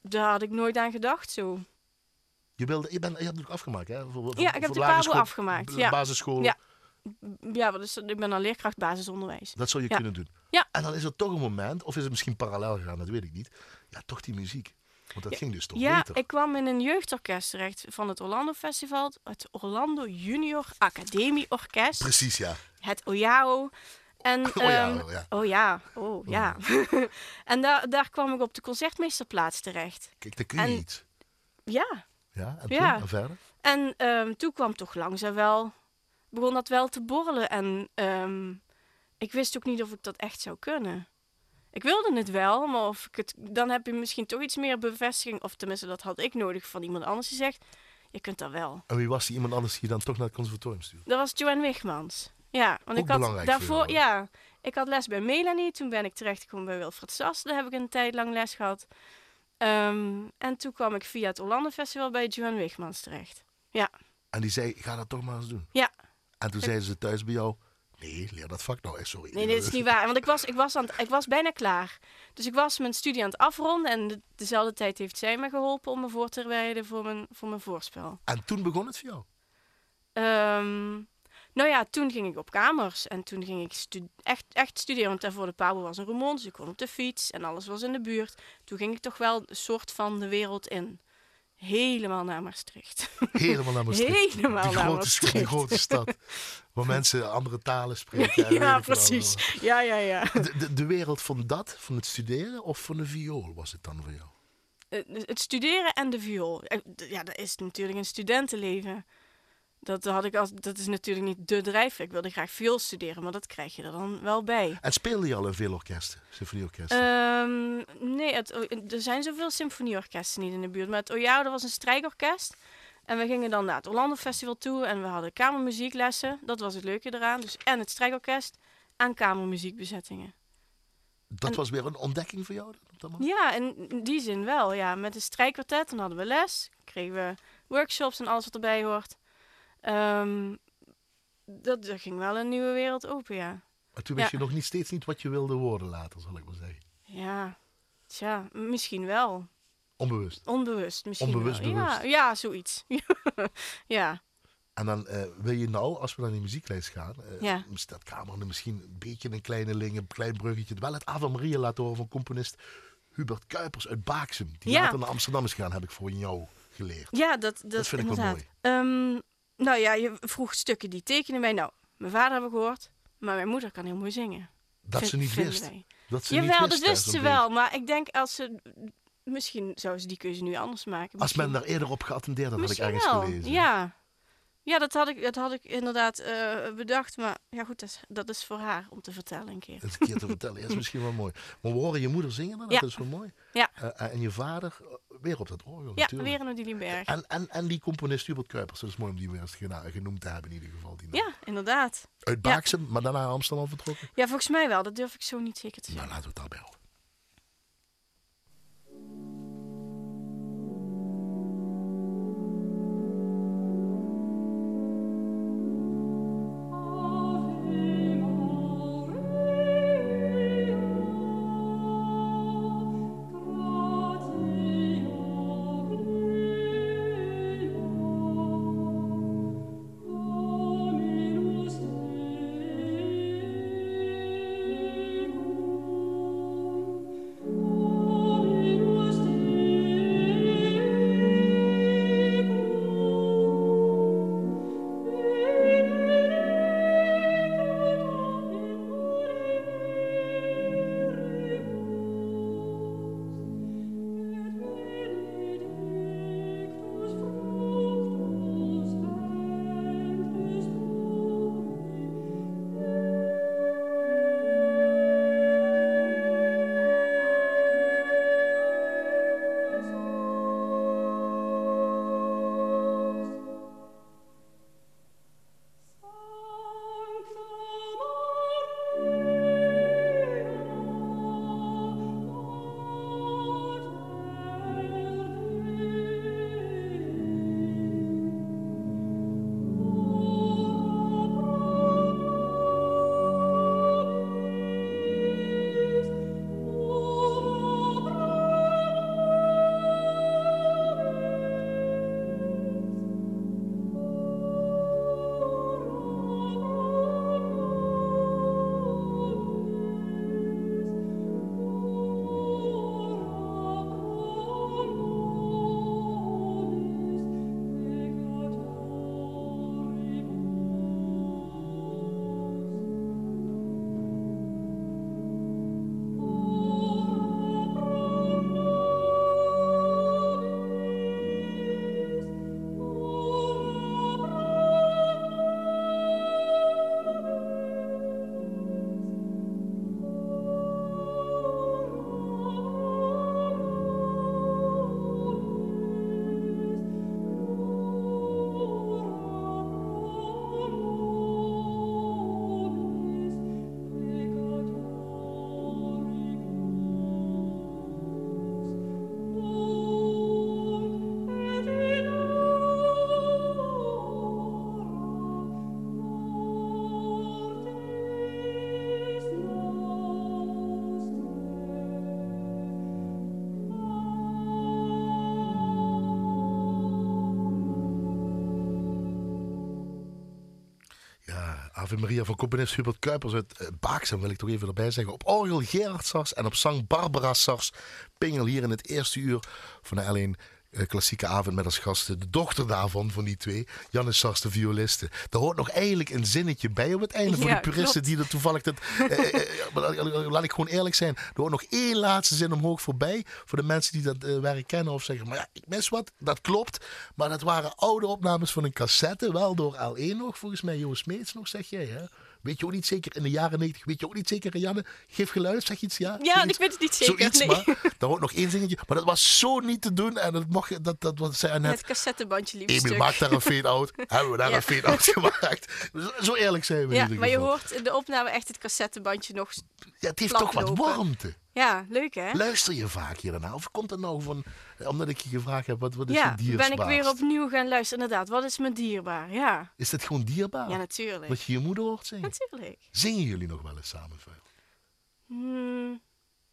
Speaker 3: daar had ik nooit aan gedacht zo.
Speaker 2: Je, wilde, je, bent, je hebt het ook afgemaakt, hè? Voor- voor-
Speaker 3: Ja, ik
Speaker 2: voor
Speaker 3: heb de
Speaker 2: lagere
Speaker 3: Pabo
Speaker 2: school-
Speaker 3: afgemaakt, ja.
Speaker 2: Basisschool.
Speaker 3: Ja. Ja, wat is dat? ik ben al leerkracht basisonderwijs.
Speaker 2: Dat zou je
Speaker 3: Ja.
Speaker 2: kunnen doen.
Speaker 3: Ja.
Speaker 2: En dan is er toch een moment, of is het misschien parallel gegaan, dat weet ik niet. Ja, toch die muziek. Want dat ging dus toch
Speaker 3: Ja,
Speaker 2: beter.
Speaker 3: ik kwam in een jeugdorkest terecht van het Orlando Festival, het Orlando Junior Academie Orkest,
Speaker 2: Precies, ja.
Speaker 3: het OJAO. En,
Speaker 2: Oh ja,
Speaker 3: ehm,
Speaker 2: wel, ja.
Speaker 3: oh ja, oh ja. en daar, daar kwam ik op de concertmeesterplaats terecht.
Speaker 2: Kijk, dat kun je
Speaker 3: en-
Speaker 2: iets.
Speaker 3: Ja.
Speaker 2: Ja, en,
Speaker 3: Ja.
Speaker 2: Toen, en verder?
Speaker 3: En ehm, toen kwam toch langzaam wel, begon dat wel te borrelen. En ehm, ik wist ook niet of ik dat echt zou kunnen. Ik wilde het wel, maar of ik het, dan heb je misschien toch iets meer bevestiging. Of tenminste, dat had ik nodig van iemand anders die zegt, je kunt dat wel.
Speaker 2: En wie was die iemand anders die je dan toch naar het conservatorium stuurde?
Speaker 3: Dat was Joanne Wigmans. Ja, want
Speaker 2: Ook
Speaker 3: ik had
Speaker 2: belangrijk voor jou,
Speaker 3: daarvoor,
Speaker 2: hè?
Speaker 3: ja, ik had les bij Melanie. Toen ben ik terechtgekomen bij Wilfred Sas. Daar heb ik een tijd lang les gehad. Ehm, en toen kwam ik via het Hollande Festival bij Joanne Wigmans terecht. Ja,
Speaker 2: En die zei, ga dat toch maar eens doen.
Speaker 3: ja.
Speaker 2: En toen zeiden ze thuis bij jou, nee, leer dat vak nou eens. Sorry.
Speaker 3: Nee, dit is niet waar. Want ik was, ik, was aan het- ik was bijna klaar. Dus ik was mijn studie aan het afronden. En de- dezelfde tijd heeft zij me geholpen om me voor te bereiden voor mijn, voor mijn voorspel.
Speaker 2: En toen begon het voor jou.
Speaker 3: Ehm, nou ja, toen ging ik op kamers. En toen ging ik stu- echt, echt studeren. Want daarvoor de Pabo was een roman. Dus ik kon op de fiets. En alles was in de buurt. Toen ging ik toch wel een soort van de wereld in. Helemaal naar Maastricht.
Speaker 2: Helemaal naar Maastricht.
Speaker 3: Helemaal
Speaker 2: die
Speaker 3: naar
Speaker 2: grote,
Speaker 3: Maastricht.
Speaker 2: Die grote stad. Waar mensen andere talen spreken. en weet ik wat
Speaker 3: ja,
Speaker 2: allemaal.
Speaker 3: precies. Ja, ja, ja.
Speaker 2: De, de, de wereld van dat, van het studeren of van de viool was het dan voor jou?
Speaker 3: Eh, dus het studeren en de viool. Eh, d- Ja, dat is natuurlijk een studentenleven. Dat, had ik als, dat is natuurlijk niet de drijfveer. Ik wilde graag viool studeren, maar dat krijg je er dan wel bij.
Speaker 2: En speelde je al in veel orkesten, symfonieorkesten?
Speaker 3: Ehm, nee, het, er zijn zoveel symfonieorkesten niet in de buurt. Maar het Ojaar, dat was een strijkorkest. En we gingen dan naar het Orlando Festival toe en we hadden kamermuzieklessen. Dat was het leuke eraan. Dus en het strijkorkest en kamermuziekbezettingen.
Speaker 2: dat was weer een ontdekking voor jou? dan, op dat moment?
Speaker 3: Ja, in in die zin wel. Ja. Met een strijkkwartet, dan hadden we les, kregen we workshops en alles wat erbij hoort. Ehm, dat, dat ging wel een nieuwe wereld open, ja.
Speaker 2: Maar toen wist
Speaker 3: Ja.
Speaker 2: je nog niet, steeds niet wat je wilde worden later, zal ik maar zeggen.
Speaker 3: Ja, tja, m- misschien wel.
Speaker 2: Onbewust.
Speaker 3: Onbewust misschien
Speaker 2: Onbewust
Speaker 3: wel. Ja,
Speaker 2: bewust.
Speaker 3: ja, zoiets. ja,
Speaker 2: En dan eh, wil je nou, als we naar die muzieklijst gaan, eh
Speaker 3: Ja.
Speaker 2: dat kamer misschien een beetje een kleine ling, een klein bruggetje, wel het Ave Maria laten horen van componist Hubert Kuipers uit Baaksem. Die
Speaker 3: Ja.
Speaker 2: later naar Amsterdam is gegaan, heb ik voor jou geleerd.
Speaker 3: ja dat, dat,
Speaker 2: Dat vind ik wel
Speaker 3: inderdaad. Ehm, nou ja, je vroeg stukken die tekenen mij. Nou, mijn vader hebben we gehoord, maar mijn moeder kan heel mooi zingen.
Speaker 2: Dat
Speaker 3: Vind-
Speaker 2: ze niet
Speaker 3: vinden
Speaker 2: wist.
Speaker 3: wij.
Speaker 2: Dat ze
Speaker 3: Jawel,
Speaker 2: niet
Speaker 3: dat
Speaker 2: wist, hè,
Speaker 3: wist
Speaker 2: zo'n
Speaker 3: ze
Speaker 2: beetje.
Speaker 3: wel. Maar ik denk als ze. Misschien zou ze die keuze nu anders maken.
Speaker 2: Als men
Speaker 3: Misschien-
Speaker 2: daar eerder op geattendeerd had, had ik
Speaker 3: Misschien
Speaker 2: ergens
Speaker 3: wel.
Speaker 2: gelezen.
Speaker 3: Ja. Ja, dat had ik, dat had ik inderdaad eh, bedacht. Maar ja, goed, dat is, dat is voor haar om te vertellen een keer.
Speaker 2: Dat is een keer te vertellen is misschien wel mooi. Maar we horen je moeder zingen dan,
Speaker 3: Ja.
Speaker 2: dat is wel mooi.
Speaker 3: Ja,
Speaker 2: Eh, en je vader eh, weer op dat orgel
Speaker 3: ja
Speaker 2: natuurlijk.
Speaker 3: weer een Odilieberg.
Speaker 2: En, en, en die componist Hubert Kuipers, dat is mooi om die weer eens gena- genoemd te hebben in ieder geval. Die naam.
Speaker 3: Ja, inderdaad.
Speaker 2: Uit Baaksem, maar daarna naar Amsterdam vertrokken.
Speaker 3: Ja, volgens mij wel. Dat durf ik zo niet zeker te
Speaker 2: Nou,
Speaker 3: zeggen.
Speaker 2: laten we het daarbij houden.
Speaker 4: Dominus Deus
Speaker 2: Ave Maria van componist Hubert Kuipers uit eh, Baaksem wil ik toch even erbij zeggen. Op orgel Gerard Sars en op zang Barbara Sars. Pingel hier in het eerste uur van de alleen klassieke avond met als gasten de dochter daarvan, van die twee, Janne Sars, de violiste. Daar hoort nog eigenlijk een zinnetje bij op het einde voor
Speaker 3: Ja,
Speaker 2: de puristen
Speaker 3: klopt.
Speaker 2: die er toevallig... Dat, eh, eh, eh, maar la- laat ik gewoon eerlijk zijn, er hoort nog één laatste zin omhoog voorbij voor de mensen die dat eh, werk kennen of zeggen, maar ja, ik mis wat, dat klopt. Maar dat waren oude opnames van een cassette, wel door L1 nog, volgens mij Joost Smeets nog, zeg jij hè? Weet je ook niet zeker, in de jaren 90, weet je ook niet zeker, Janne, geef geluid, zeg iets, ja?
Speaker 3: Ja,
Speaker 2: Zoiets?
Speaker 3: ik weet het niet zeker.
Speaker 2: Zoiets,
Speaker 3: nee.
Speaker 2: maar daar hoort nog één zingetje. Maar dat was zo niet te doen. En dat mocht, dat, dat was, zei net,
Speaker 3: Het cassettebandje liefst.
Speaker 2: Emil,
Speaker 3: stuk.
Speaker 2: maak daar een fade-out. Hebben we daar
Speaker 3: Ja.
Speaker 2: een fade-out gemaakt. Zo- Zo eerlijk zijn we in
Speaker 3: Ja,
Speaker 2: ieder
Speaker 3: maar je
Speaker 2: geval.
Speaker 3: hoort in de opname echt het cassettebandje nog. s-
Speaker 2: Ja, het heeft
Speaker 3: plat
Speaker 2: toch wat
Speaker 3: lopen.
Speaker 2: warmte.
Speaker 3: Ja, leuk hè?
Speaker 2: Luister je vaak hier naar? Of komt dat nou van, eh, omdat ik je gevraagd heb, wat, wat is
Speaker 3: ja,
Speaker 2: je dierbaar?
Speaker 3: ben ik weer opnieuw gaan luisteren. Inderdaad, wat is me dierbaar? Ja,
Speaker 2: Is dat gewoon dierbaar?
Speaker 3: ja natuurlijk.
Speaker 2: dat Oh. je je moeder hoort zingen?
Speaker 3: Natuurlijk.
Speaker 2: Zingen jullie nog wel eens samen veel?
Speaker 3: Hmm,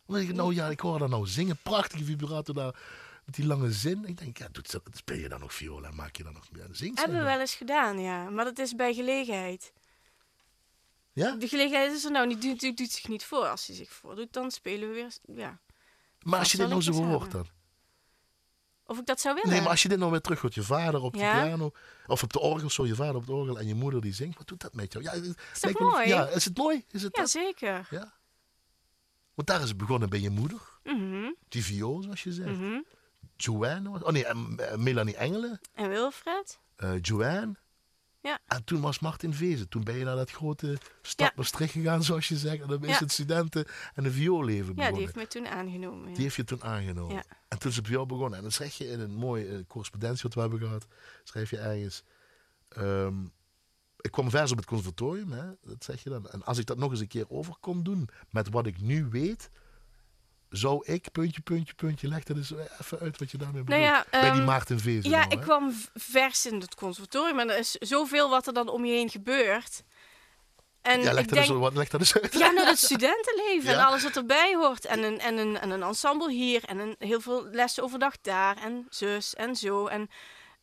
Speaker 2: Omdat ik, nou ja, ik hoor haar nou zingen. Prachtige vibrato daar. Met die lange zin. Ik denk, ja, doet ze, speel je dan nog viool en maak je dan nog... Ja, zingt ze
Speaker 3: hebben we
Speaker 2: dan?
Speaker 3: wel eens gedaan, ja. Maar dat is bij gelegenheid.
Speaker 2: Ja?
Speaker 3: De gelegenheid is er nou niet. Doet, doet, doet zich niet voor. Als hij zich voordoet, dan spelen we weer. Ja.
Speaker 2: Maar als je
Speaker 3: Vast
Speaker 2: dit
Speaker 3: wel
Speaker 2: nou zo
Speaker 3: lekker
Speaker 2: hoort dan?
Speaker 3: samen. Of ik dat zou willen.
Speaker 2: Nee, maar als je dit nou weer terug hoort, je vader op de
Speaker 3: Ja?
Speaker 2: piano, of op de orgel, zo je vader op de orgel en je moeder die zingt, wat doet dat met jou? Ja, is
Speaker 3: dat mooi?
Speaker 2: ja, is het mooi? Is het
Speaker 3: Ja,
Speaker 2: dat?
Speaker 3: zeker.
Speaker 2: Ja. Want daar is het begonnen bij je moeder,
Speaker 3: Mhm,
Speaker 2: die viool, zoals je zegt.
Speaker 3: mhm.
Speaker 2: Joanne, was- oh nee, en, eh, Melanie Engelen,
Speaker 3: En Wilfred?
Speaker 2: eh, Joanne.
Speaker 3: Ja.
Speaker 2: En toen was Martin Vezen. Toen ben je naar dat grote stad
Speaker 3: Ja.
Speaker 2: Maastricht gegaan, zoals je zegt. En dan is
Speaker 3: Ja.
Speaker 2: het studenten- eh, en een vioolleven
Speaker 3: Ja,
Speaker 2: begonnen.
Speaker 3: die heeft mij toen aangenomen.
Speaker 2: Die
Speaker 3: Ja.
Speaker 2: heeft je toen aangenomen.
Speaker 3: Ja.
Speaker 2: En toen is het bij jou begonnen. En dan schrijf je in een mooie eh, correspondentie wat we hebben gehad. Schrijf je ergens. ehm, ik kwam vers op het conservatorium, hè? dat zeg je dan. En als ik dat nog eens een keer over kon doen met wat ik nu weet, zou ik, puntje, puntje, puntje, leg dat eens even uit wat je daarmee bedoelt.
Speaker 3: ja,
Speaker 2: Bij die
Speaker 3: ehm,
Speaker 2: Maarten Vezen.
Speaker 3: Ja,
Speaker 2: nou,
Speaker 3: ik
Speaker 2: hè?
Speaker 3: kwam v- vers in het conservatorium. En er is zoveel wat er dan om je heen gebeurt. En
Speaker 2: ja leg,
Speaker 3: ik
Speaker 2: dat
Speaker 3: denk,
Speaker 2: eens, wat- leg dat eens uit.
Speaker 3: Ja, nou, dat studentenleven
Speaker 2: Ja.
Speaker 3: en alles wat erbij hoort. En een, en, een, en een ensemble hier en een, heel veel lessen overdag daar en zus en zo. En,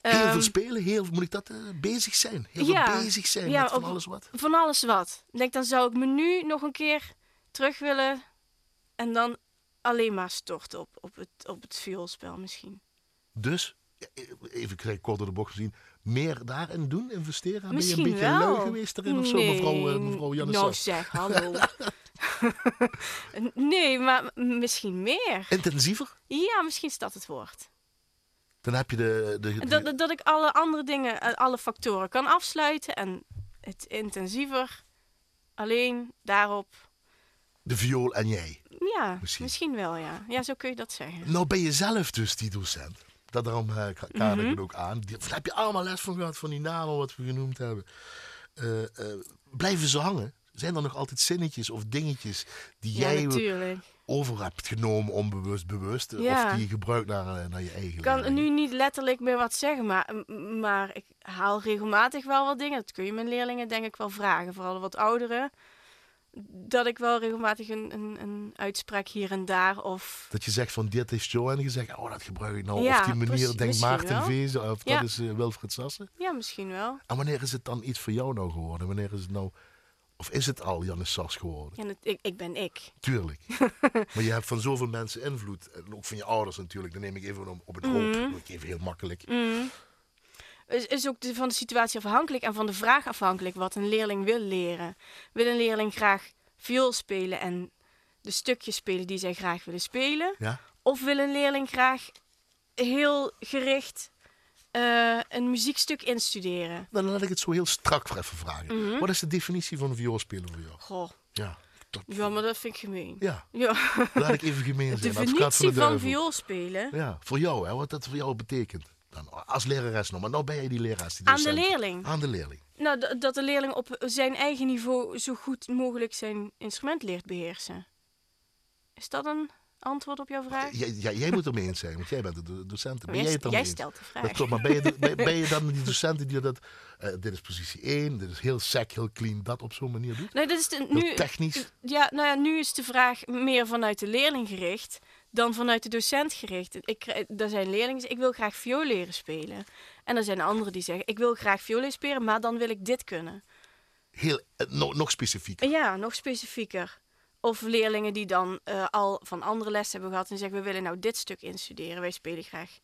Speaker 2: Heel
Speaker 3: ehm,
Speaker 2: veel spelen, heel, moet ik dat eh, bezig zijn? Heel veel
Speaker 3: ja.
Speaker 2: bezig zijn
Speaker 3: Ja,
Speaker 2: met van
Speaker 3: op-
Speaker 2: alles wat.
Speaker 3: Van alles wat. Ik denk, dan zou ik me nu nog een keer terug willen en dan alleen maar storten op, op het, op het vioolspel misschien.
Speaker 2: Dus, even kort door de bocht gezien, meer daarin doen, investeren? Ben
Speaker 3: misschien
Speaker 2: je een beetje
Speaker 3: wel.
Speaker 2: lui geweest erin of zo,
Speaker 3: Nee,
Speaker 2: mevrouw, eh, mevrouw Jannes?
Speaker 3: Nou zeg, hallo. nee, maar m- misschien meer.
Speaker 2: Intensiever?
Speaker 3: Ja, misschien is dat het woord.
Speaker 2: Dan heb je de... de, de-
Speaker 3: Dat, dat- dat ik alle andere dingen, eh, alle factoren kan afsluiten en het intensiever alleen daarop.
Speaker 2: de viool en jij.
Speaker 3: Ja,
Speaker 2: Misschien.
Speaker 3: misschien, wel, ja. Ja, zo kun je dat zeggen.
Speaker 2: Nou ben je zelf dus die docent. Dat daarom eh, ka- kader
Speaker 3: Mhm.
Speaker 2: ik het ook aan. Die- Daar heb je allemaal les van gehad, van die namen wat we genoemd hebben. Eh, eh, blijven ze hangen? Zijn er nog altijd zinnetjes of dingetjes die jij
Speaker 3: ja, natuurlijk.
Speaker 2: over hebt genomen, onbewust, bewust? eh, Of
Speaker 3: Ja.
Speaker 2: die je gebruikt naar, eh, naar je eigen
Speaker 3: Ik kan
Speaker 2: leerlingen?
Speaker 3: nu niet letterlijk meer wat zeggen, maar, m- maar ik haal regelmatig wel wat dingen. Dat kun je mijn leerlingen denk ik wel vragen, vooral de wat ouderen. Dat ik wel regelmatig een, een, een uitspraak hier en daar of...
Speaker 2: Dat je zegt van dit is Joanne gezegd, oh dat gebruik ik nou.
Speaker 3: Ja,
Speaker 2: of die manier
Speaker 3: precies,
Speaker 2: denkt
Speaker 3: misschien
Speaker 2: Maarten
Speaker 3: wel.
Speaker 2: Vezen of
Speaker 3: Ja.
Speaker 2: dat is eh, Wilfred Sassen.
Speaker 3: Ja, misschien wel.
Speaker 2: En wanneer is het dan iets voor jou nou geworden? Wanneer is het nou, of is het al Janne Sas geworden?
Speaker 3: Ja, nat- ik, ik ben ik.
Speaker 2: Tuurlijk. maar je hebt van zoveel mensen invloed. En ook van je ouders natuurlijk. Dan neem ik even om- op het hoop.
Speaker 3: Mhm.
Speaker 2: Dat doe ik even heel makkelijk.
Speaker 3: is, is ook de- van de situatie afhankelijk en van de vraag afhankelijk wat een leerling wil leren. Wil een leerling graag viool spelen en de stukjes spelen die zij graag willen spelen?
Speaker 2: Ja?
Speaker 3: Of wil een leerling graag heel gericht eh, een muziekstuk instuderen?
Speaker 2: Dan laat ik het zo heel strak voor even vragen.
Speaker 3: Mhm.
Speaker 2: Wat is de definitie van vioolspelen voor jou?
Speaker 3: Goh,
Speaker 2: Ja. Dat-
Speaker 3: ja, maar dat vind ik gemeen.
Speaker 2: ja.
Speaker 3: Ja,
Speaker 2: Laat ik even gemeen
Speaker 3: de
Speaker 2: zijn. Advocaat van
Speaker 3: definitie
Speaker 2: de
Speaker 3: van
Speaker 2: duivel.
Speaker 3: viool spelen
Speaker 2: Ja, voor jou, hè, wat dat voor jou betekent. Dan, als lerares nog, maar nou ben jij die lerares. Die
Speaker 3: aan de
Speaker 2: docent.
Speaker 3: leerling.
Speaker 2: Aan de leerling.
Speaker 3: Nou, d- dat de leerling op zijn eigen niveau zo goed mogelijk zijn instrument leert beheersen. Is dat een antwoord op jouw vraag?
Speaker 2: Jij, jij, jij moet ermee eens zijn, want jij bent de do- docent. Ben jij,
Speaker 3: jij
Speaker 2: het dan
Speaker 3: jij
Speaker 2: mee eens?
Speaker 3: stelt de vraag.
Speaker 2: Dat klopt, maar ben je, de- ben, ben je dan die docenten die dat... eh, dit is positie 1, dit is heel sec, heel clean, dat op zo'n manier doet?
Speaker 3: Nee, dat is de,
Speaker 2: Heel
Speaker 3: nu,
Speaker 2: technisch?
Speaker 3: ja, nou ja, nu is de vraag meer vanuit de leerling gericht dan vanuit de docent gericht. Ik, krijg- er zijn leerlingen die zeggen, ik wil graag viool leren spelen. En er zijn anderen die zeggen, ik wil graag viool leren spelen, maar dan wil ik dit kunnen.
Speaker 2: heel, eh, no- nog specifiek.
Speaker 3: Ja, nog specifieker. Of leerlingen die dan eh, al van andere lessen hebben gehad en zeggen: We willen nou dit stuk instuderen, wij spelen graag.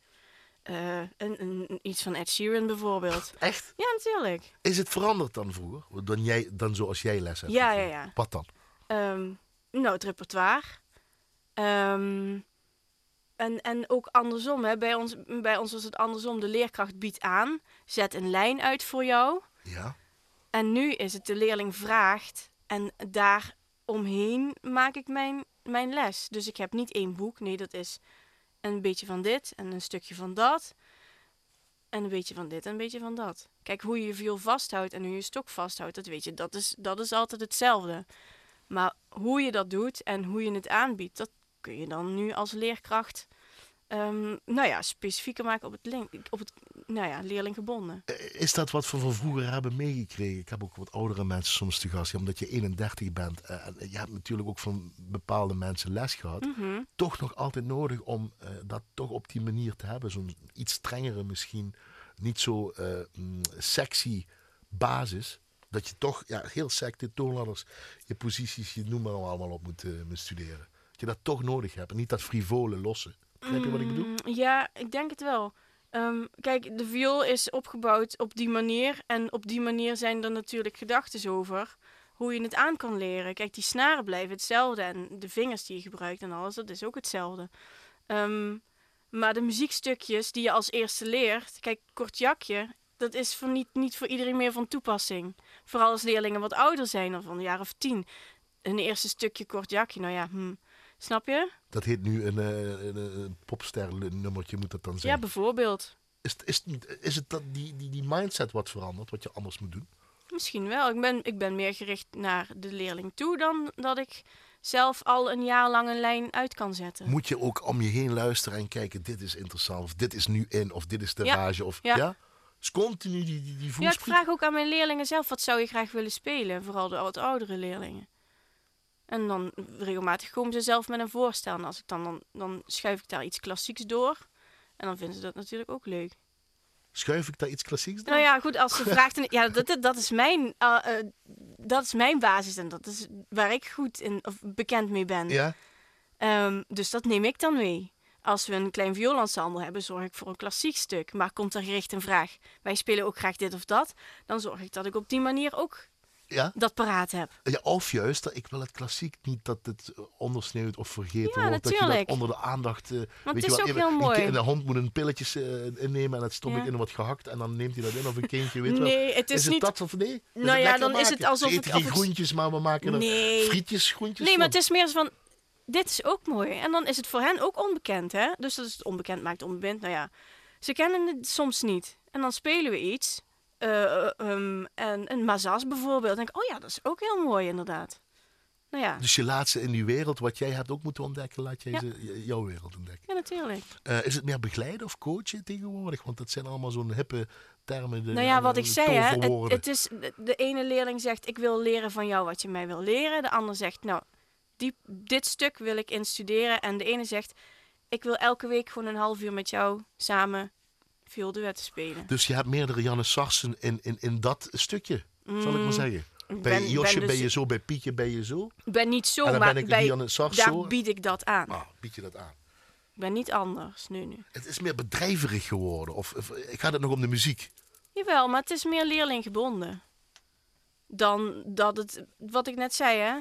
Speaker 3: eh, een, een, iets van Ed Sheeran bijvoorbeeld.
Speaker 2: Echt?
Speaker 3: Ja, natuurlijk.
Speaker 2: Is het veranderd dan vroeger? Dan, jij, dan zoals jij les hebt?
Speaker 3: Ja,
Speaker 2: gegeven?
Speaker 3: ja, ja.
Speaker 2: Wat dan?
Speaker 3: Ehm, nou, het repertoire. Ehm, en, en ook andersom. Hè. Bij, ons, bij ons was het andersom. De leerkracht biedt aan, zet een lijn uit voor jou.
Speaker 2: Ja?
Speaker 3: En nu is het de leerling vraagt. En daar omheen maak ik mijn, mijn les. Dus ik heb niet één boek. Nee, dat is een beetje van dit en een stukje van dat. En een beetje van dit en een beetje van dat. Kijk, hoe je je viool vasthoudt en hoe je je stok vasthoudt, dat weet je. Dat is, dat is altijd hetzelfde. Maar hoe je dat doet en hoe je het aanbiedt, dat kun je dan nu als leerkracht... ehm, nou ja, specifieker maken op het, link, op het nou ja, leerlinggebonden.
Speaker 2: Eh, Is dat wat we van vroeger hebben meegekregen? Ik heb ook wat oudere mensen soms te gast. ja, omdat je 31 bent. eh, en je hebt natuurlijk ook van bepaalde mensen les gehad. Toch nog altijd nodig om eh, dat toch op die manier te hebben. Zo'n iets strengere misschien. Niet zo eh, mm, sexy basis. Dat je toch ja, heel sec de toonladders, je posities, je noem maar allemaal op moet, eh, moet studeren. Dat je dat toch nodig hebt. En niet dat frivole lossen. Begrijp je wat ik bedoel?
Speaker 3: Mm, Ja, ik denk het wel. Ehm, kijk, de viool is opgebouwd op die manier. En op die manier zijn er natuurlijk gedachten over hoe je het aan kan leren. Kijk, die snaren blijven hetzelfde. En de vingers die je gebruikt en alles, dat is ook hetzelfde. Ehm, maar de muziekstukjes die je als eerste leert... Kijk, kortjakje, dat is voor niet, niet voor iedereen meer van toepassing. Vooral als leerlingen wat ouder zijn, of van een jaar of tien. Een eerste stukje kortjakje, nou ja, hm. snap je?
Speaker 2: Dat heet nu een, eh, een, een popster-nummertje, moet dat dan zijn.
Speaker 3: Ja, bijvoorbeeld.
Speaker 2: Is, het- is, het niet- is het dat die, die, die mindset wat verandert, wat je anders moet doen?
Speaker 3: Misschien wel. Ik ben, ik ben meer gericht naar de leerling toe dan dat ik zelf al een jaar lang een lijn uit kan zetten.
Speaker 2: Moet je ook om je heen luisteren en kijken, dit is interessant, of dit is nu in, of dit is de
Speaker 3: Ja,
Speaker 2: rage, of ja?
Speaker 3: ja.
Speaker 2: Dus continu die, die, die
Speaker 3: ja, ik
Speaker 2: voelspriet.
Speaker 3: vraag ook aan mijn leerlingen zelf, wat zou je graag willen spelen? Vooral de wat oudere leerlingen. En dan regelmatig komen ze zelf met een voorstel. En als ik dan, dan, dan schuif ik daar iets klassieks door. En dan vinden ze dat natuurlijk ook leuk.
Speaker 2: Schuif ik daar iets klassieks door?
Speaker 3: Nou ja, goed, als ze vraagt... en- ja, dat, dat, dat is mijn, eh, eh, dat is mijn basis en dat is waar ik goed in, of bekend mee ben.
Speaker 2: Ja?
Speaker 3: Ehm, dus dat neem ik dan mee. Als we een klein vioolensemble hebben, zorg ik voor een klassiek stuk. Maar komt er gericht een vraag, wij spelen ook graag dit of dat, dan zorg ik dat ik op die manier ook
Speaker 2: Ja?
Speaker 3: dat paraat heb.
Speaker 2: ja? Of juist, ik wil het klassiek niet dat het eh, ondersneeuwt of vergeten
Speaker 3: Ja,
Speaker 2: wordt. Dat je
Speaker 3: natuurlijk.
Speaker 2: dat onder de aandacht... eh,
Speaker 3: het
Speaker 2: weet
Speaker 3: is
Speaker 2: je wel,
Speaker 3: ook
Speaker 2: in-
Speaker 3: heel mooi.
Speaker 2: In de hand moet een pilletje eh, innemen en dat stop ik
Speaker 3: Ja.
Speaker 2: in wat gehakt. En dan neemt hij dat in of een kindje, weet wel.
Speaker 3: Nee, het is,
Speaker 2: Is, het
Speaker 3: niet...
Speaker 2: dat of nee? Is
Speaker 3: Nou
Speaker 2: het
Speaker 3: ja,
Speaker 2: lekker
Speaker 3: dan is het
Speaker 2: maken?
Speaker 3: alsof
Speaker 2: Ze
Speaker 3: het-
Speaker 2: eten geen
Speaker 3: of het-
Speaker 2: groentjes, maar we maken er
Speaker 3: Nee.
Speaker 2: frietjes, groentjes
Speaker 3: Nee, maar het
Speaker 2: van.
Speaker 3: is meer zo van, dit is ook mooi. En dan is het voor hen ook onbekend, hè? Dus dat is het onbekend maakt onbekend. Nou ja, ze kennen het soms niet. En dan spelen we iets. eh, eh, ehm, en een mazas bijvoorbeeld. Dan denk ik, oh ja, dat is ook heel mooi inderdaad. Nou ja,
Speaker 2: Dus je laat ze in die wereld, wat jij hebt ook moeten ontdekken, laat jij
Speaker 3: Ja.
Speaker 2: ze j- jouw wereld ontdekken.
Speaker 3: ja natuurlijk.
Speaker 2: Eh, is het meer begeleiden of coachen tegenwoordig? Want dat zijn allemaal zo'n hippe termen. de-
Speaker 3: Nou ja, wat
Speaker 2: de
Speaker 3: ik zei, hè, het,
Speaker 2: toverwoorden.
Speaker 3: het is, de- de ene leerling zegt, ik wil leren van jou wat je mij wil leren. De ander zegt, nou, die, dit stuk wil ik instuderen. En de ene zegt, ik wil elke week gewoon een half uur met jou samen vioolduetten spelen.
Speaker 2: Dus je hebt meerdere Janne Sarsen in, in, in dat stukje, zal ik maar zeggen. Bij
Speaker 3: Mm. ben-
Speaker 2: Josje
Speaker 3: ben
Speaker 2: ben
Speaker 3: dus-
Speaker 2: je zo, bij Pietje ben je zo.
Speaker 3: Ik ben niet zo,
Speaker 2: En dan
Speaker 3: maar
Speaker 2: ben ik
Speaker 3: bij,
Speaker 2: Lianne Sars zo.
Speaker 3: daar bied ik dat aan.
Speaker 2: Nou, bied je dat aan.
Speaker 3: Ik ben niet anders nu, nu.
Speaker 2: Het is meer bedrijverig geworden. Of, of eh, gaat het nog om de muziek?
Speaker 3: Jawel, maar het is meer leerlinggebonden. Dan dat het, wat ik net zei, hè.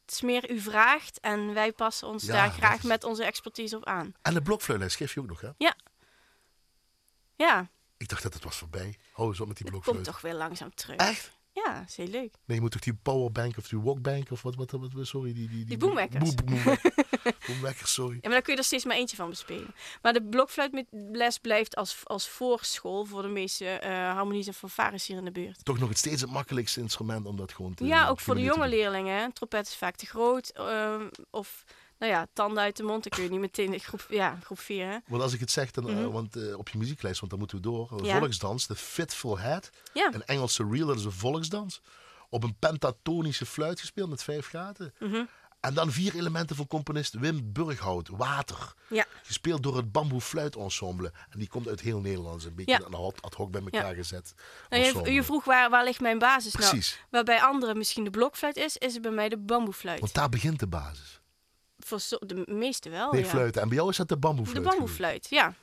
Speaker 3: Het is meer u vraagt en wij passen ons
Speaker 2: Ja,
Speaker 3: daar
Speaker 2: dat
Speaker 3: graag
Speaker 2: is-
Speaker 3: met onze expertise op aan.
Speaker 2: En de blokfluitles geef je ook nog, hè?
Speaker 3: Ja,
Speaker 2: Ik dacht dat het was voorbij. Hou eens op met die
Speaker 3: het
Speaker 2: blokfluit.
Speaker 3: komt toch weer langzaam terug.
Speaker 2: Echt?
Speaker 3: Ja, dat is heel leuk.
Speaker 2: Nee, je moet toch die powerbank of die walkbank of wat, wat, wat, wat- sorry, die... Die, die,
Speaker 3: boemwekkers.
Speaker 2: boe- boemwe- boemwekkers, sorry.
Speaker 3: Ja, maar dan kun je er steeds maar eentje van bespelen. Maar de blokfluitles blijft als, als voorschool voor de meeste eh harmonies en fanfares hier in de buurt.
Speaker 2: Toch nog het steeds het makkelijkste instrument om dat gewoon te
Speaker 3: Ja, ook voor de jonge
Speaker 2: leerlingen.
Speaker 3: leerlingen. hè. Een trompet is vaak te groot. ehm, of, nou ja, tanden uit de mond, dan kun je niet meteen in groep, ja, groep 4, hè.
Speaker 2: Want als ik het zeg, dan, eh,
Speaker 3: Mhm.
Speaker 2: want, eh, op je muzieklijst, want dan moeten we door. Een
Speaker 3: Ja.
Speaker 2: Volksdans, de Fitful Head.
Speaker 3: Ja.
Speaker 2: Een Engelse reel, dat is een volksdans. Op een pentatonische fluit gespeeld met vijf gaten.
Speaker 3: Mhm.
Speaker 2: En dan vier elementen van componist Wim Burghout, Water.
Speaker 3: Ja.
Speaker 2: Gespeeld door het Bamboe Fluit Ensemble. En die komt uit heel Nederland. Is Een beetje
Speaker 3: Ja.
Speaker 2: een ad- ad hoc bij elkaar gezet.
Speaker 3: Nou, je,
Speaker 2: ensemble.
Speaker 3: je vroeg waar, waar ligt mijn basis nou?
Speaker 2: Precies.
Speaker 3: Waar bij anderen misschien de blokfluit is, is het bij mij de bamboefluit.
Speaker 2: Want daar begint de basis.
Speaker 3: Voor zo- de meeste wel.
Speaker 2: Nee,
Speaker 3: Oh, ja.
Speaker 2: fluiten. En bij jou is dat de
Speaker 3: De
Speaker 2: bamboefluit.
Speaker 3: bamboefluit, ja.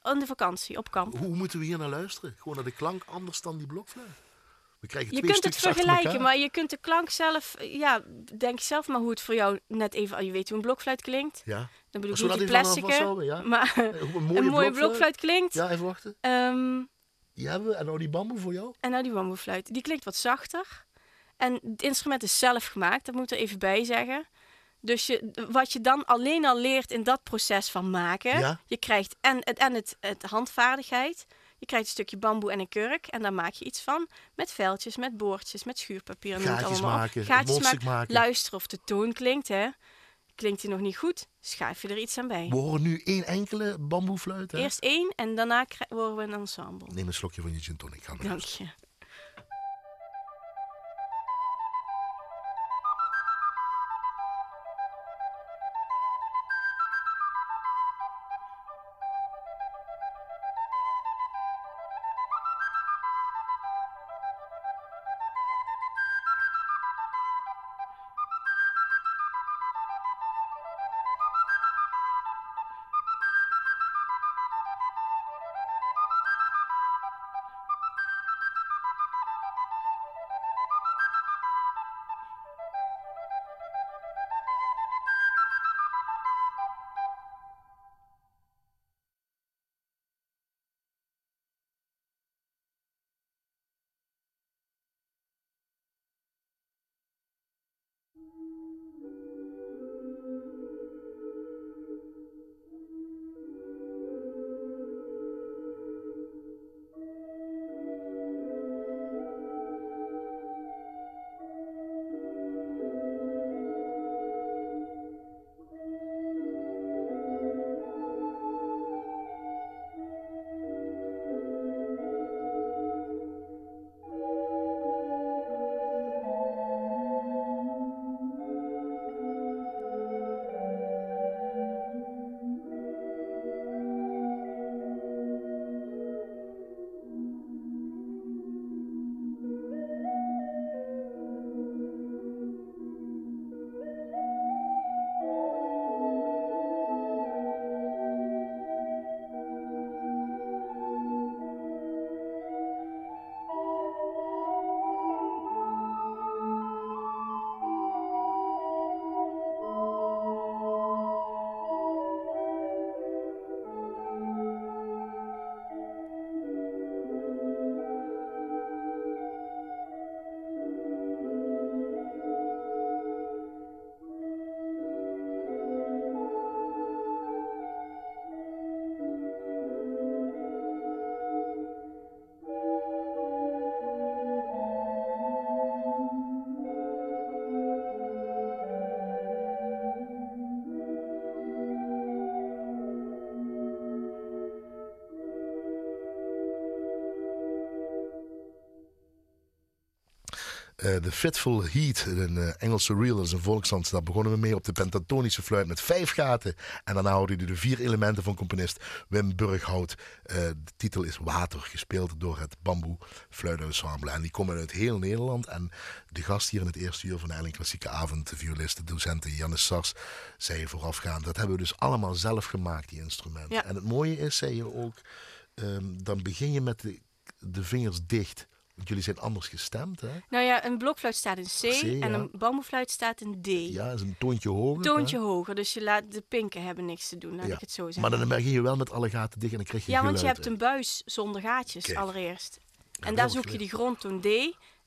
Speaker 3: Aan de vakantie, op kamp.
Speaker 2: Hoe moeten we hier naar luisteren? Gewoon naar de klank anders dan die blokfluit. We krijgen
Speaker 3: Je
Speaker 2: twee
Speaker 3: kunt het
Speaker 2: stukjes achter
Speaker 3: vergelijken,
Speaker 2: elkaar.
Speaker 3: maar je kunt de klank zelf, ja, denk zelf maar hoe het voor jou net even, je weet hoe een blokfluit klinkt.
Speaker 2: Ja.
Speaker 3: Dan bedoel ik
Speaker 2: Zodat
Speaker 3: niet de
Speaker 2: ik vanaf
Speaker 3: plastic,
Speaker 2: was alweer, ja.
Speaker 3: maar
Speaker 2: Hoe Een
Speaker 3: een mooie blokfluit klinkt.
Speaker 2: Ja, even wachten.
Speaker 3: Ehm,
Speaker 2: Die hebben we. En nou die bamboe voor jou.
Speaker 3: en nou die bamboefluit, die klinkt wat zachter. En het instrument is zelf gemaakt, dat moet ik er even bij zeggen. Dus je, wat je dan alleen al leert in dat proces van maken,
Speaker 2: Ja.
Speaker 3: je krijgt en, het, en het, het handvaardigheid, je krijgt een stukje bamboe en een kurk en daar maak je iets van. Met veldjes, met boordjes, met schuurpapier. en noem het
Speaker 2: Gaatjes
Speaker 3: allemaal op.
Speaker 2: maken,
Speaker 3: Gaatjes
Speaker 2: mondstuk maken.
Speaker 3: Luister of de toon klinkt, hè. Klinkt die nog niet goed, schuif je er iets aan bij.
Speaker 2: We horen nu één enkele bamboefluit. Hè?
Speaker 3: Eerst één en daarna krij- horen we een ensemble.
Speaker 2: Neem een slokje van je gin tonic. Gaan we
Speaker 3: Dank je.
Speaker 2: Eh, De Fitful Heat, een eh, Engelse reel, dat is een volkshand. Daar begonnen we mee op de pentatonische fluit met vijf gaten. En daarna houden jullie de vier elementen van componist Wim Burghout. Eh, de titel is Water, gespeeld door het Bamboe Fluitensemble. En die komen uit heel Nederland. En de gast hier in het eerste uur van de Eiling Klassieke Avond, de violist, de docent Jannes Sars, zei voorafgaand, dat hebben we dus allemaal zelf gemaakt, die instrumenten.
Speaker 3: Ja.
Speaker 2: En het mooie is, zei je ook, ehm, dan begin je met de, de vingers dicht. Want jullie zijn anders gestemd, hè?
Speaker 3: Nou ja, een blokfluit staat in C,
Speaker 2: C,
Speaker 3: en
Speaker 2: ja.
Speaker 3: een bamboefluit staat in D.
Speaker 2: Ja, is een toontje hoger.
Speaker 3: Toontje
Speaker 2: hè?
Speaker 3: hoger, dus je laat de pinken hebben niks te doen, laat
Speaker 2: Ja.
Speaker 3: ik het zo zeggen.
Speaker 2: Maar dan begin je wel met alle gaten dicht en dan krijg je
Speaker 3: ja, want je
Speaker 2: geluid
Speaker 3: hebt
Speaker 2: in.
Speaker 3: een buis zonder gaatjes
Speaker 2: Kijk.
Speaker 3: allereerst. en
Speaker 2: dat
Speaker 3: daar
Speaker 2: is
Speaker 3: zoek je
Speaker 2: leuk.
Speaker 3: die grondtoon D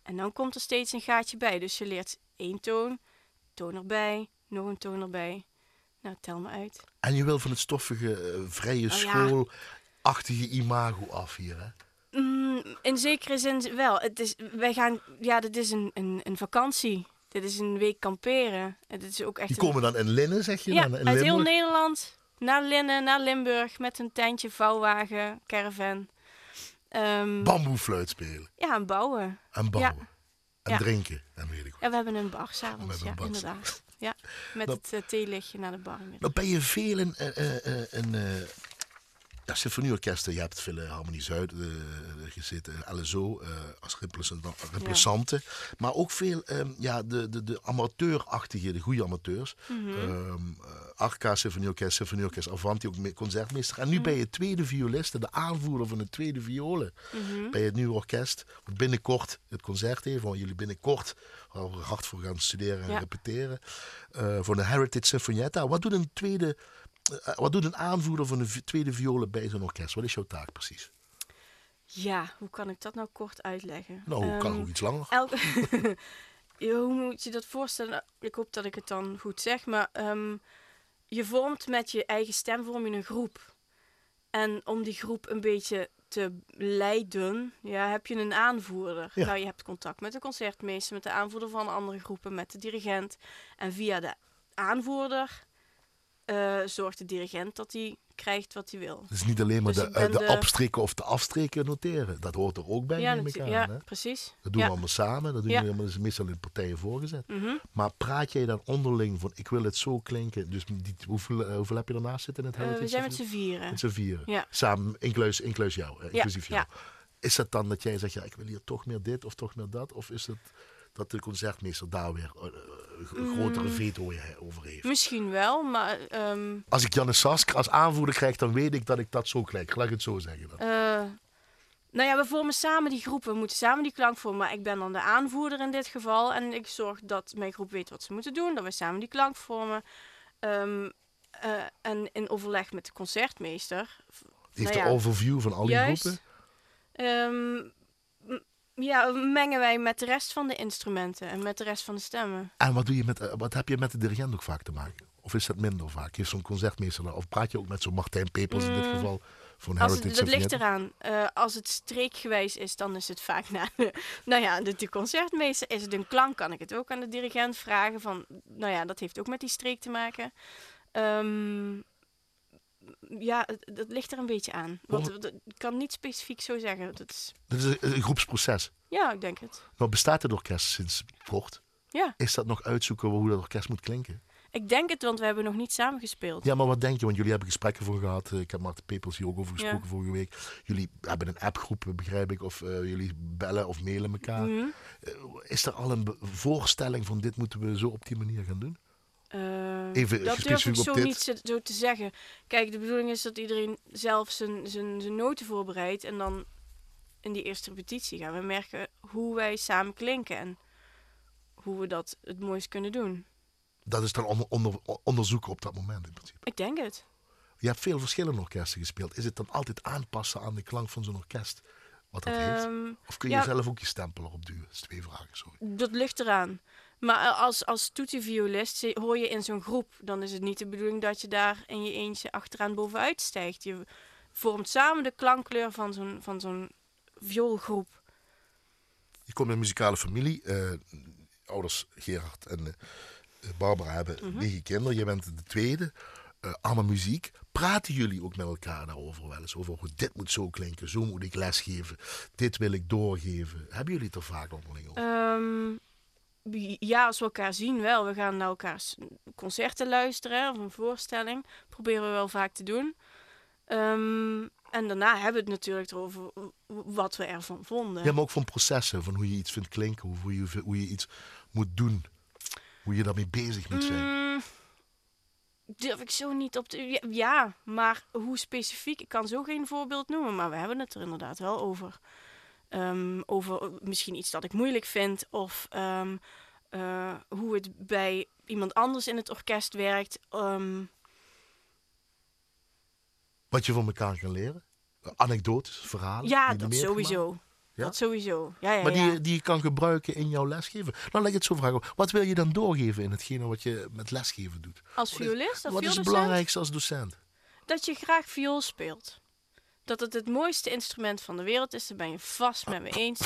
Speaker 3: en dan komt er steeds een gaatje bij. Dus je leert één toon, toon erbij, nog een toon erbij. Nou, tel me uit.
Speaker 2: En je wil van het stoffige, eh, vrije
Speaker 3: Oh ja.
Speaker 2: schoolachtige imago af hier, hè?
Speaker 3: Mm, in zekere zin wel. Het is, wij gaan, ja, dit is een, een, een vakantie. Dit is een week kamperen. En dit is ook echt
Speaker 2: Die
Speaker 3: een
Speaker 2: komen dan in linnen, zeg je?
Speaker 3: Ja,
Speaker 2: dan, in
Speaker 3: uit heel
Speaker 2: Limburg?
Speaker 3: Nederland naar Linnen, naar Limburg met een tentje, vouwwagen, caravan. Ehm,
Speaker 2: Bamboefluit spelen
Speaker 3: ja, en bouwen.
Speaker 2: en bouwen. en
Speaker 3: Ja.
Speaker 2: drinken. En weet ik wat.
Speaker 3: Ja, we hebben een bar
Speaker 2: We
Speaker 3: s'avonds,
Speaker 2: hebben
Speaker 3: ja,
Speaker 2: een bar. Nou-
Speaker 3: inderdaad. Ja, met
Speaker 2: Dat-
Speaker 3: het eh, theelichtje naar de bar. inmiddels.
Speaker 2: Nou ben je veel in, eh eh, eh, in eh, ja, symfonieorkesten. eh, Je hebt veel in Harmonie Zuid eh, gezeten, LSO, eh, als represent- eh, repressante. Maar ook veel ehm, ja, de, de, de amateurachtige, de goede amateurs. Ehm, eh, Arca Symfonieorkest, Symfonieorkest Avanti, ook me- concertmeester. En nu ben je tweede violiste, de aanvoerder van de tweede violen. Bij het nieuwe orkest. Binnenkort het concert even, want jullie binnenkort waar we hard voor gaan studeren en
Speaker 3: Ja.
Speaker 2: repeteren. eh, voor de Heritage Sinfonietta. Wat doet een tweede... eh, wat doet een aanvoerder van de vi- tweede violen bij zo'n orkest? Wat is jouw taak precies?
Speaker 3: Ja, hoe kan ik dat nou kort uitleggen?
Speaker 2: Nou, kan
Speaker 3: Ehm,
Speaker 2: ook iets langer.
Speaker 3: Elke... Ja, hoe moet je dat voorstellen? Ik hoop dat ik het dan goed zeg, maar ehm, je vormt met je eigen stem vorm je een groep. En om die groep een beetje te leiden, ja, heb je een aanvoerder.
Speaker 2: Ja.
Speaker 3: Nou, je hebt contact met de concertmeester, met de aanvoerder van andere groepen, met de dirigent. En via de aanvoerder eh, zorgt de dirigent dat hij krijgt wat hij wil.
Speaker 2: Het is niet alleen maar
Speaker 3: dus
Speaker 2: de,
Speaker 3: ik
Speaker 2: eh,
Speaker 3: ben
Speaker 2: de
Speaker 3: de-
Speaker 2: abstrikken of de afstreken noteren. Dat hoort er ook bij,
Speaker 3: ja,
Speaker 2: neem ik aan.
Speaker 3: natuurlijk. ja
Speaker 2: hè?
Speaker 3: precies.
Speaker 2: Dat doen
Speaker 3: ja.
Speaker 2: we allemaal samen. Dat doen
Speaker 3: Ja.
Speaker 2: jullie allemaal, dat is meestal in partijen voorgezet.
Speaker 3: Mhm.
Speaker 2: Maar praat jij dan onderling van, ik wil het zo klinken. Dus die, hoeveel, eh, hoeveel heb je daarnaast zitten in het
Speaker 3: Eh, we
Speaker 2: Heritage
Speaker 3: zijn met
Speaker 2: Symphony-
Speaker 3: z'n vieren.
Speaker 2: Met z'n vieren.
Speaker 3: Ja.
Speaker 2: Samen, inclusief, inclusief jou. eh, inclusief
Speaker 3: ja.
Speaker 2: jou. Is dat dan dat jij zegt, ja, ik wil hier toch meer dit of toch meer dat? Of is het dat de concertmeester daar weer eh, eh,
Speaker 3: Mm.
Speaker 2: een grotere veto je- over heeft?
Speaker 3: Misschien wel, maar ehm,
Speaker 2: Als ik Janne Sask als aanvoerder krijg, dan weet ik dat ik dat zo krijg. Laat ik het zo zeggen. Dan.
Speaker 3: Eh, nou ja, we vormen samen die groep. We moeten samen die klank vormen. Maar ik ben dan de aanvoerder in dit geval. En ik zorg dat mijn groep weet wat ze moeten doen. Dat we samen die klank vormen. Ehm, eh, en in overleg met de concertmeester.
Speaker 2: Die heeft
Speaker 3: nou
Speaker 2: de
Speaker 3: ja,
Speaker 2: overview van al die
Speaker 3: juist.
Speaker 2: groepen.
Speaker 3: Ehm, m- ja, mengen wij met de rest van de instrumenten. En met de rest van de stemmen.
Speaker 2: En wat, doe je met, eh, wat heb je met de dirigent ook vaak te maken? Of is dat minder vaak? Heeft zo'n concertmeester daar- Of praat je ook met zo'n Martijn Pepels in dit geval? Van
Speaker 3: Mm. Als
Speaker 2: Heritage
Speaker 3: het, dat ligt
Speaker 2: Symphony?
Speaker 3: eraan. Eh, als het streekgewijs is, dan is het vaak na de, nou ja, de, de concertmeester. Is het een klank, kan ik het ook aan de dirigent vragen. Van, nou ja, dat heeft ook met die streek te maken. Ehm, ja, het- dat ligt er een beetje aan. Want,
Speaker 2: Hoe-
Speaker 3: dat- ik kan niet specifiek zo zeggen. Dat is,
Speaker 2: Dat is een, een groepsproces.
Speaker 3: ja, ik denk het.
Speaker 2: Nou bestaat het orkest sinds kort.
Speaker 3: Ja,
Speaker 2: Is dat nog uitzoeken hoe dat orkest moet klinken?
Speaker 3: ik denk het, want we hebben nog niet samengespeeld.
Speaker 2: Ja, maar wat denk je? Want jullie hebben gesprekken voor gehad. Eh, Ik heb Maarten Pepels hier ook over gesproken
Speaker 3: Ja.
Speaker 2: vorige week. Jullie hebben een appgroep, eh, begrijp ik. Of eh, jullie bellen of mailen elkaar.
Speaker 3: Mhm.
Speaker 2: Eh, is er al een be- voorstelling van dit moeten we zo op die manier gaan doen?
Speaker 3: Eh,
Speaker 2: Even
Speaker 3: dat durf ik
Speaker 2: gespecificeerd
Speaker 3: zo
Speaker 2: op dit.
Speaker 3: niet zo- zo te zeggen. Kijk, de bedoeling is dat iedereen zelf zijn, zijn, zijn noten voorbereidt. En dan in die eerste repetitie gaan we merken hoe wij samen klinken. En hoe we dat het mooist kunnen doen.
Speaker 2: Dat is dan onder, onder, onderzoeken op dat moment in principe.
Speaker 3: Ik denk het.
Speaker 2: Je hebt veel verschillende orkesten gespeeld. Is het dan altijd aanpassen aan de klank van zo'n orkest? Wat dat heeft?
Speaker 3: Ehm,
Speaker 2: Of kun je
Speaker 3: ja.
Speaker 2: zelf ook je stempel erop duwen? Dat is twee vragen, sorry.
Speaker 3: dat ligt eraan. Maar eh, als, als toetsenviolist zie- hoor je in zo'n groep. Dan is het niet de bedoeling dat je daar in je eentje achteraan bovenuit stijgt. Je vormt samen de klankkleur van zo'n, van zo'n vioolgroep.
Speaker 2: Je komt in een muzikale familie. Eh, ouders Gerard en eh, Barbara hebben
Speaker 3: Mhm.
Speaker 2: negen kinderen. Je bent de tweede. Eh allemaal muziek. Praten jullie ook met elkaar daarover wel eens? Over hoe dit moet zo klinken, zo moet ik lesgeven, dit wil ik doorgeven. Hebben jullie het er vaak onderling over?
Speaker 3: Ehm, b- ja, als we elkaar zien wel. We gaan naar elkaars concerten luisteren of een voorstelling. Proberen we wel vaak te doen. Ehm, en daarna hebben we het natuurlijk erover w- wat we ervan vonden.
Speaker 2: Ja, maar ook van processen, van hoe je iets vindt klinken, hoe- hoe je, hoe je iets moet doen. Hoe je daarmee bezig moet zijn.
Speaker 3: Mm, durf ik zo niet op te... Ja, ja, maar hoe specifiek? Ik kan zo geen voorbeeld noemen, maar we hebben het er inderdaad wel over. Ehm, over misschien iets dat ik moeilijk vind of ehm, eh, hoe het bij iemand anders in het orkest werkt. Ehm,
Speaker 2: Wat je van elkaar kan leren. Anekdotes, verhalen. die
Speaker 3: ja,
Speaker 2: je
Speaker 3: dat
Speaker 2: mee hebt gemaakt.
Speaker 3: sowieso.
Speaker 2: Ja?
Speaker 3: Dat sowieso. Ja, ja,
Speaker 2: Maar
Speaker 3: ja.
Speaker 2: die, eh, die je kan gebruiken in jouw lesgeven. Nou, laat ik het zo vragen. Wat wil je dan doorgeven in hetgene wat je met lesgeven doet?
Speaker 3: als
Speaker 2: wat is-
Speaker 3: violist, als
Speaker 2: wat is het
Speaker 3: violist
Speaker 2: belangrijkste als docent?
Speaker 3: dat je graag viool speelt. Dat het het mooiste instrument van de wereld is, daar ben je vast
Speaker 2: Ah.
Speaker 3: met me eens.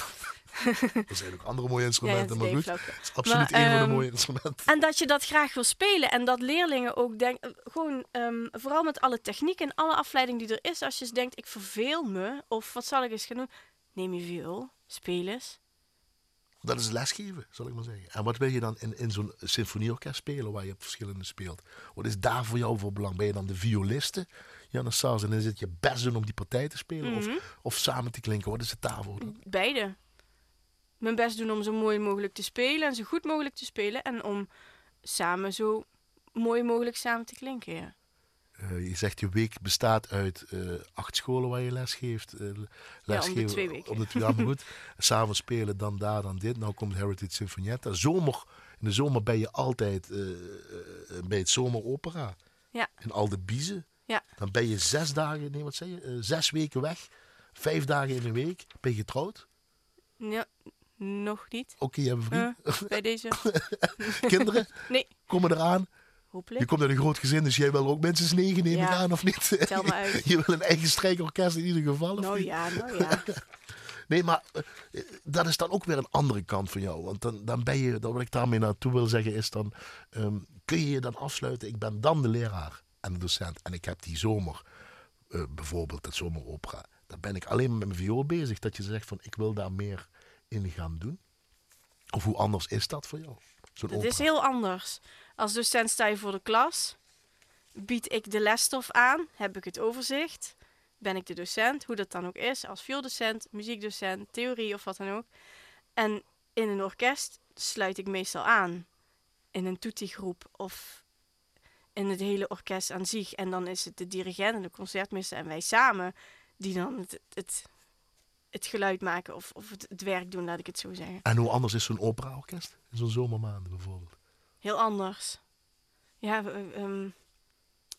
Speaker 2: Er zijn ook andere mooie
Speaker 3: Ja, ja,
Speaker 2: instrumenten,
Speaker 3: dat
Speaker 2: maar
Speaker 3: deed
Speaker 2: goed.
Speaker 3: flauwke.
Speaker 2: Het is absoluut
Speaker 3: Maar,
Speaker 2: een van
Speaker 3: ehm,
Speaker 2: de mooie instrumenten.
Speaker 3: En dat je dat graag wil spelen. En dat leerlingen ook denken, gewoon ehm, vooral met alle techniek en alle afleiding die er is. Als je eens denkt, ik verveel me, of wat zal ik eens gaan doen? Neem je viool, speel eens.
Speaker 2: Dat is lesgeven, zal ik maar zeggen. En wat wil je dan in, in zo'n symfonieorkest spelen waar je op verschillende speelt? Wat is daar voor jou voor belang? Ben je dan de violiste, Janne Sars, en dan zit je best doen om die partij te spelen
Speaker 3: Mhm.
Speaker 2: of, of samen te klinken? Wat is het daarvoor? dan?
Speaker 3: Beide. Mijn best doen om zo mooi mogelijk te spelen en zo goed mogelijk te spelen. En om samen zo mooi mogelijk samen te klinken. Ja.
Speaker 2: Eh, je zegt je week bestaat uit eh, acht scholen waar je lesgeeft. eh, lesgeven,
Speaker 3: twee weken.
Speaker 2: Om de twee, ja, maar goed. Samen spelen, dan daar, dan dit. Nou komt Heritage Sinfonietta. Zomer, in de zomer ben je altijd eh, eh, bij het zomeropera.
Speaker 3: Ja.
Speaker 2: In al de biezen.
Speaker 3: Ja.
Speaker 2: Dan ben je zes dagen, nee wat zei je, Eh, zes weken weg. Vijf dagen in een week. Ben je getrouwd?
Speaker 3: Ja, nog niet.
Speaker 2: Oké, je hebt een vriend.
Speaker 3: Eh, bij deze. Mm.
Speaker 2: Kinderen
Speaker 3: Nee,
Speaker 2: komen eraan. Je
Speaker 3: hopelijk.
Speaker 2: komt uit een groot gezin, dus jij wil ook minstens negen neem ik
Speaker 3: Ja.
Speaker 2: aan, of niet?
Speaker 3: Tel me uit.
Speaker 2: Je wil een eigen strijkorkest in ieder geval, of
Speaker 3: Nou
Speaker 2: niet?
Speaker 3: ja, nou ja.
Speaker 2: Nee, maar eh, eh, dat is dan ook weer een andere kant van jou. Want dan, dan ben je, dat wat ik daarmee naartoe wil zeggen is dan, ehm, kun je je dan afsluiten, ik ben dan de leraar en de docent. En ik heb die zomer, eh, bijvoorbeeld dat zomeropera, daar ben ik alleen maar met mijn viool bezig. Dat je zegt van, ik wil daar meer in gaan doen. Of hoe anders is dat voor jou? Zo'n
Speaker 3: Het is
Speaker 2: opera.
Speaker 3: heel anders. Als docent sta je voor de klas. Bied ik de lesstof aan? Heb ik het overzicht? Ben ik de docent? Hoe dat dan ook is. Als violdocent, muziekdocent, theorie of wat dan ook. En in een orkest sluit ik meestal aan. In een toetiegroep of in het hele orkest aan zich. En dan is het de dirigent en de concertmeester en wij samen die dan het, het, het geluid maken of, of het, het werk doen, laat ik het zo zeggen.
Speaker 2: En hoe anders is zo'n operaorkest? In zo'n zomermaanden bijvoorbeeld.
Speaker 3: Heel anders. Ja, eh, ehm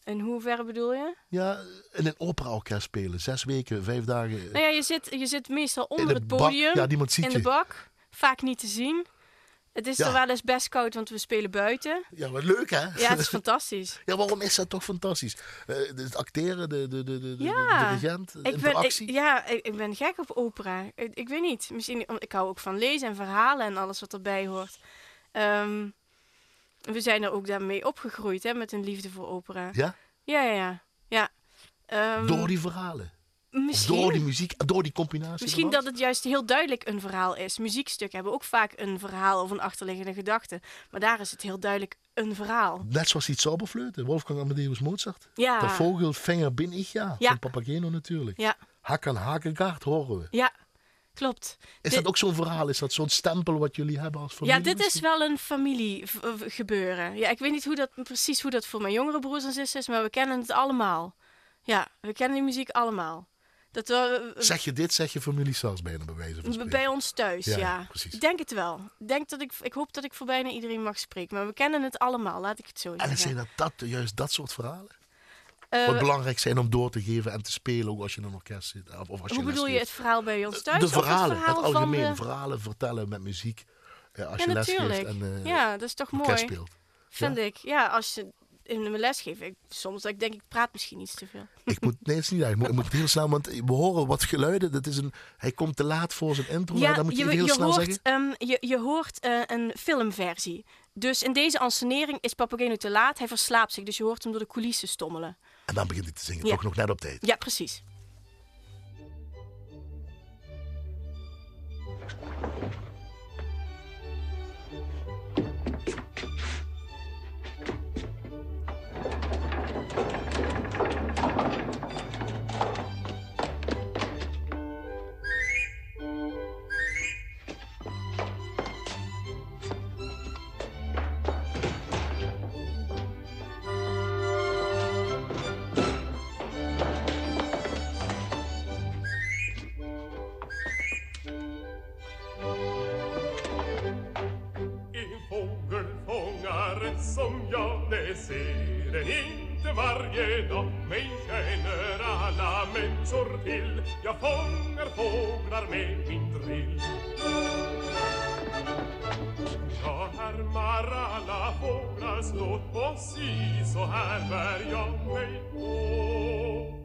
Speaker 3: in hoeverre bedoel je?
Speaker 2: Ja, in een operaorkest spelen. Zes weken, vijf dagen. eh,
Speaker 3: Nou ja, je zit, je zit meestal onder
Speaker 2: in
Speaker 3: het, podium,
Speaker 2: Bak. Ja, niemand ziet
Speaker 3: in
Speaker 2: je.
Speaker 3: de bak, vaak niet te zien. Het is
Speaker 2: Ja.
Speaker 3: er wel eens best koud, want we spelen buiten.
Speaker 2: Ja, wat leuk hè?
Speaker 3: Ja, het is fantastisch.
Speaker 2: Ja, waarom is dat toch fantastisch? Eh, het acteren, de, de, de, de, de-
Speaker 3: Ja.
Speaker 2: de dirigent, de
Speaker 3: Ik ben, ik,
Speaker 2: interactie.
Speaker 3: ja, ik, ik ben gek op opera. Ik, ik weet niet. Misschien, ik hou ook van lezen en verhalen en alles wat erbij hoort. Ehm, we zijn er ook daarmee opgegroeid, hè, met een liefde voor opera.
Speaker 2: Ja?
Speaker 3: Ja, ja, ja. ja. Ehm,
Speaker 2: Door die verhalen. Of
Speaker 3: misschien.
Speaker 2: door die muziek, eh, door die combinatie.
Speaker 3: Misschien
Speaker 2: ervan.
Speaker 3: dat het juist heel duidelijk een verhaal is. Muziekstukken hebben ook vaak een verhaal of een achterliggende gedachte. Maar daar is het heel duidelijk een verhaal.
Speaker 2: Net zoals die Zauberflöte, Wolfgang Amadeus Mozart.
Speaker 3: Ja.
Speaker 2: De vogelvinger bin ik, ja.
Speaker 3: Ja.
Speaker 2: Van Papageno natuurlijk.
Speaker 3: Ja,
Speaker 2: Hak aan Hakengaard horen we.
Speaker 3: ja. Klopt.
Speaker 2: Is
Speaker 3: Dit-
Speaker 2: dat ook zo'n verhaal? Is dat zo'n stempel wat jullie hebben als familie?
Speaker 3: Ja, dit is
Speaker 2: misschien?
Speaker 3: wel een familiegebeuren. Ja, ik weet niet hoe dat, precies hoe dat voor mijn jongere broers en zussen is, maar we kennen het allemaal. Ja, we kennen die muziek allemaal. Dat we,
Speaker 2: Zeg je dit, zeg je familie zelfs bijna bij wijze van spreken.
Speaker 3: Bij ons thuis,
Speaker 2: Ja,
Speaker 3: ja.
Speaker 2: ja, precies.
Speaker 3: Ik denk het wel. Ik Denk dat ik, ik hoop dat ik voor bijna iedereen mag spreken. Maar we kennen het allemaal, laat ik het zo
Speaker 2: En
Speaker 3: zeggen.
Speaker 2: dan zijn dat, dat juist dat soort verhalen?
Speaker 3: Eh,
Speaker 2: Wat belangrijk zijn om door te geven en te spelen, ook als je in een orkest zit. Of, of als
Speaker 3: Hoe
Speaker 2: les
Speaker 3: bedoel je
Speaker 2: geeft.
Speaker 3: het verhaal bij ons thuis?
Speaker 2: de
Speaker 3: of het
Speaker 2: verhalen, het,
Speaker 3: verhaal van
Speaker 2: algemeen.
Speaker 3: de-
Speaker 2: Verhalen vertellen met muziek. eh, als
Speaker 3: Ja,
Speaker 2: je les
Speaker 3: natuurlijk.
Speaker 2: geeft en eh
Speaker 3: ja, dat is toch
Speaker 2: orkest
Speaker 3: mooi,
Speaker 2: speelt.
Speaker 3: vind ik. Ja, als je in mijn les geeft, ik, soms dat ik denk ik praat misschien iets te veel.
Speaker 2: Ik moet, nee, het is niet erg. Ik moet, ik moet heel snel, want we horen wat geluiden. Dat is een, hij komt te laat voor zijn intro. maar dan moet je, het heel snel
Speaker 3: hoort,
Speaker 2: zeggen.
Speaker 3: ehm, je, je hoort eh, een filmversie. Dus in deze ansenering is Papageno te laat. Hij verslaapt zich, dus je hoort hem door de coulissen stommelen.
Speaker 2: En dan begint hij te zingen.
Speaker 3: Ja.
Speaker 2: Toch nog net op tijd.
Speaker 3: Ja, precies.
Speaker 4: I fågelfångare som jag det ser en inte varje dag Mig känner alla människor till Jag fångar fåglar med min drill Jag härmar alla fåglars låt och si så här bär jag mig åt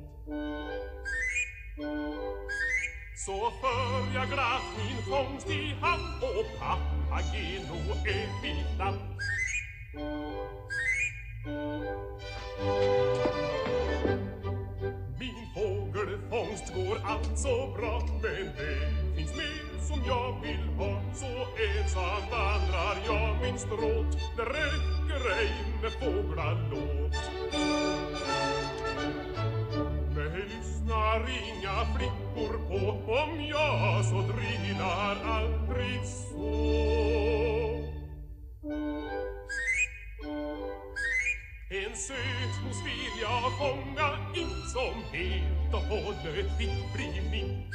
Speaker 4: Så för jag glatt min fångst i hamn och Papageno är mitt namn Min fågelfångst går allt så bra Men det finns mer som jag vill ha Så är blomsterrot Det räcker ej med fåglalåt Det lyssnar inga flickor på Om jag så drillar aldrig så En söt mus vill jag fånga in som helt och hållet fick bli min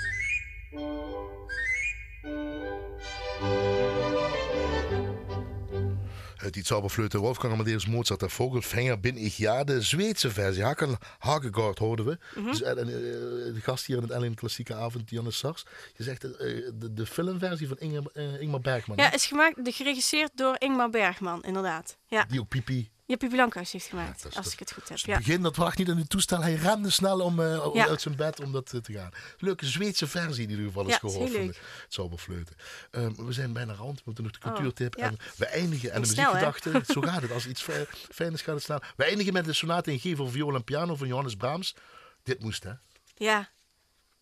Speaker 2: Uit die Zauberflöte Wolfgang Amadeus Mozart der Vogelfänger bin ich ja. De Zweedse versie. Hakan Hagegaard hoorden we.
Speaker 3: Mhm.
Speaker 2: Dus, eh, en, eh, de gast hier in het Ellen Klassieke Avond, Janne Sars. Je zegt eh, de, de filmversie van Inge, eh, Ingmar Bergman. hè?
Speaker 3: Ja, is gemaakt, de- geregisseerd door Ingmar Bergman, inderdaad. Ja,
Speaker 2: Die ook pipi.
Speaker 3: ja Pipi Lankhuis heeft
Speaker 2: Ja,
Speaker 3: gemaakt,
Speaker 2: dat is
Speaker 3: als
Speaker 2: toch-
Speaker 3: ik het goed heb.
Speaker 2: Dus
Speaker 3: Ja.
Speaker 2: het begin, dat lag niet in het toestel. Hij rende snel om, eh, om-
Speaker 3: Ja.
Speaker 2: uit zijn bed om dat eh, te gaan. Leuke Zweedse versie in ieder geval is
Speaker 3: Ja,
Speaker 2: gehoord
Speaker 3: is heel
Speaker 2: van de
Speaker 3: leuk.
Speaker 2: Zauberflöte. Ehm, we zijn bijna rond. We moeten nog de
Speaker 3: Oh,
Speaker 2: cultuurtip.
Speaker 3: ja.
Speaker 2: En we eindigen. En
Speaker 3: Ging
Speaker 2: de
Speaker 3: snel, hè?
Speaker 2: muziekgedachte. Zo gaat het. Als iets fijn- fijn is, gaat het snel. We eindigen met de sonate in G voor viool en piano van Johannes Brahms. Dit moest, hè?
Speaker 3: ja,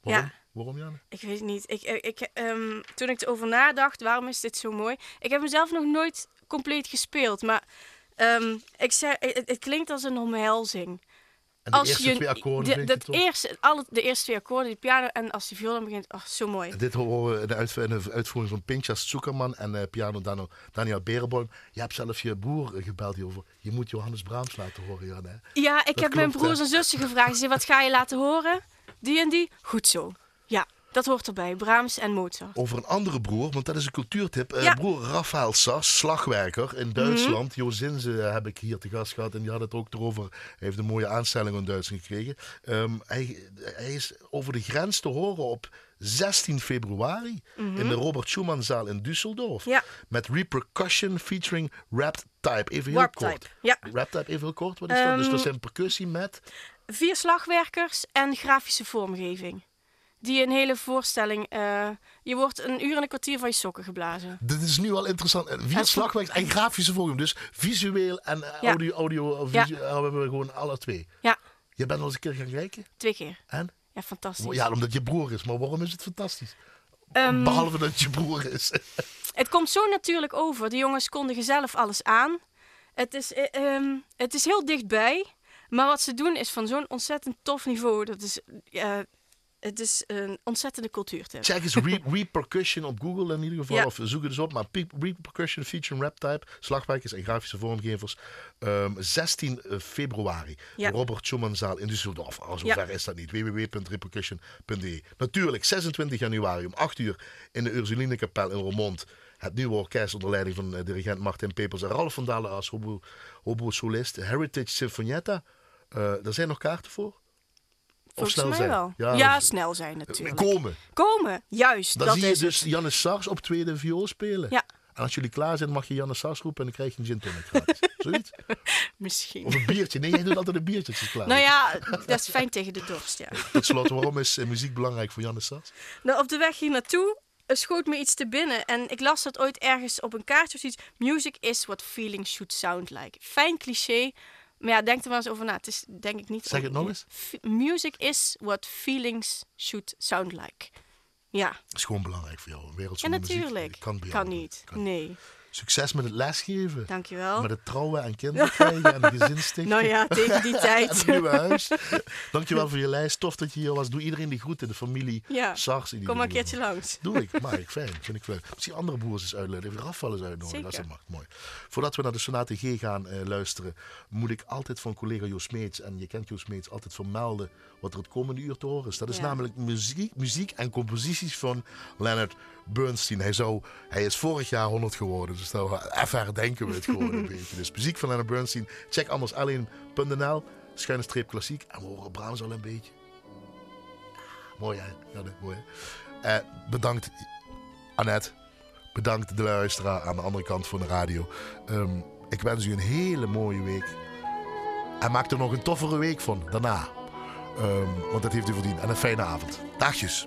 Speaker 2: Waarom?
Speaker 3: Ja.
Speaker 2: Waarom, Janne?
Speaker 3: ik weet het niet. Ik, ik, ik, ehm, toen ik erover nadacht, waarom is dit zo mooi? Ik heb hem zelf nog nooit compleet gespeeld, maar ehm, ik zei, het, het klinkt als een omhelzing.
Speaker 2: En de eerste twee akkoorden
Speaker 3: de-
Speaker 2: vind je
Speaker 3: dat
Speaker 2: toch?
Speaker 3: eerste, alle, de eerste twee akkoorden, die piano en als die viool dan begint, oh, zo mooi.
Speaker 2: Dit horen we in de, uitv- in de uitvoering van Pinchas Zuckerman en eh, piano Dano- Daniel Berenboim. Je hebt zelf je broer eh, gebeld hierover. Je moet Johannes Brahms laten horen, Jan. Hè?
Speaker 3: Ja, ik heb mijn
Speaker 2: klopt, hè?
Speaker 3: broers en zussen gevraagd. Ze zeiden, wat ga je laten horen? Die en die? Goed zo. Ja, dat hoort erbij. Brahms en Mozart.
Speaker 2: Over een andere broer, want dat is een cultuurtip. Eh,
Speaker 3: Ja. Mhm.
Speaker 2: Broer Rafael Sas, slagwerker in Duitsland. Jo Zinze eh, heb ik hier te gast gehad en die had het ook erover. Hij heeft een mooie aanstelling in Duitsland gekregen. Ehm, hij, hij is over de grens te horen op 16 februari in de Robert Schumannzaal in Düsseldorf.
Speaker 3: Mhm. Ja.
Speaker 2: Met repercussion featuring Rapt Type. Even heel
Speaker 3: Warped
Speaker 2: kort.
Speaker 3: Type, Ehm, ja.
Speaker 2: Rapt Type, even heel kort. Wat is dat? Dus dat zijn percussie met...
Speaker 3: Vier slagwerkers en grafische vormgeving. Die een hele voorstelling... eh, je wordt een uur en een kwartier van je sokken geblazen.
Speaker 2: Dit is nu al interessant. Eh, En Vier
Speaker 3: En-
Speaker 2: slagwerks en grafische vorm. Dus visueel en eh,
Speaker 3: Ja.
Speaker 2: audio, audio eh,
Speaker 3: Ja.
Speaker 2: visu- eh, hebben we gewoon alle twee.
Speaker 3: Ja,
Speaker 2: Je bent al eens een keer gaan kijken.
Speaker 3: twee keer.
Speaker 2: En?
Speaker 3: Ja, fantastisch.
Speaker 2: Oh, Ja, omdat je broer is. Maar waarom is het fantastisch?
Speaker 3: Ehm,
Speaker 2: Behalve dat je broer is.
Speaker 3: Het komt zo natuurlijk over. De jongens kondigen zelf alles aan. Het is, eh, ehm, het is heel dichtbij. Maar wat ze doen is van zo'n ontzettend tof niveau. Dat is, eh, het is een ontzettende cultuurtip.
Speaker 2: Check eens re- repercussion op Google in ieder geval.
Speaker 3: Ja.
Speaker 2: Of zoek het eens op. Maar pe- repercussion featuring rap type, slagwerkers en grafische vormgevers. Ehm, 16 februari.
Speaker 3: Ja.
Speaker 2: Robert Schumannzaal in Düsseldorf. Al
Speaker 3: Ja.
Speaker 2: zover is dat niet. www.repercussion.de Natuurlijk 26 januari om 8 uur in de Ursulinekapel in Roermond. Het nieuwe orkest onder leiding van eh, dirigent Martin Pepers en Ralf van Dalen als hobo, solist. Heritage Sinfonietta. Eh er zijn nog kaarten voor?
Speaker 3: Volgens
Speaker 2: snel
Speaker 3: mij
Speaker 2: zijn.
Speaker 3: wel.
Speaker 2: Ja,
Speaker 3: Ja,
Speaker 2: dat is-
Speaker 3: snel zijn natuurlijk.
Speaker 2: Komen.
Speaker 3: Komen, juist.
Speaker 2: Dan
Speaker 3: dat
Speaker 2: zie je
Speaker 3: is
Speaker 2: dus
Speaker 3: dus...
Speaker 2: Jannes Sars op tweede viool spelen.
Speaker 3: Ja.
Speaker 2: En als jullie klaar zijn, mag je Jannes Sars roepen en dan krijg je een gin tonic gratis. Zoiets?
Speaker 3: Misschien.
Speaker 2: Of een biertje. Nee, jij doet altijd een biertje als je klaar
Speaker 3: Nou
Speaker 2: bent.
Speaker 3: ja, dat is fijn tegen de dorst, ja.
Speaker 2: Tot slot, waarom is eh, muziek belangrijk voor Jannes Sars?
Speaker 3: Nou, op de weg hier naartoe eh, schoot me iets te binnen. En ik las dat ooit ergens op een kaartje of zoiets. Music is what feeling should sound like. Fijn cliché. Maar ja, denk er maar eens over na. Het is denk ik niet...
Speaker 2: Zeg het nog eens.
Speaker 3: F- Music is what feelings should sound like. Ja,
Speaker 2: Dat is gewoon belangrijk voor jou. Een wereld
Speaker 3: en
Speaker 2: zonder muziek
Speaker 3: natuurlijk.
Speaker 2: kan, bij jou
Speaker 3: niet.
Speaker 2: Kan.
Speaker 3: Nee,
Speaker 2: Succes met het lesgeven.
Speaker 3: dankjewel.
Speaker 2: Met het trouwen en kinderen krijgen en de gezinstichting.
Speaker 3: Nou ja, tegen die
Speaker 2: En het
Speaker 3: tijd.
Speaker 2: nieuwe huis. Dankjewel voor je lijst. Tof dat je hier was. Doe iedereen die groeten. De familie
Speaker 3: Ja.
Speaker 2: Sars. in ieder
Speaker 3: Kom maar een
Speaker 2: geval.
Speaker 3: keertje langs.
Speaker 2: Doe ik, maar ik fijn. Vind ik fijn. Misschien andere broers eens uitnodigen. Even Raf wel eens uitnodigen, als dat
Speaker 3: Zeker.
Speaker 2: mag. Mooi. Voordat we naar de Sonate G gaan eh, luisteren, moet ik altijd van collega Joost Meets, en je kent Joost Meets, altijd vermelden wat er het komende uur te horen is. Dat is
Speaker 3: Ja.
Speaker 2: namelijk muziek, muziek en composities van Leonard Bernstein. Hij, zou, hij is vorig jaar 100 geworden, dus nou, even herdenken we het gewoon een beetje. Dus muziek van Leonard Bernstein. Check anders alleen.nl, schuine streep klassiek. En we horen Brahms al een beetje. Mooi hè? Ja, dat- mooi hè? Eh, bedankt Annette. Bedankt de luisteraar aan de andere kant van de radio. Ehm, ik wens u een hele mooie week. En maak er nog een toffere week van daarna. Ehm, want dat heeft u verdiend. En een fijne avond. Dagjes.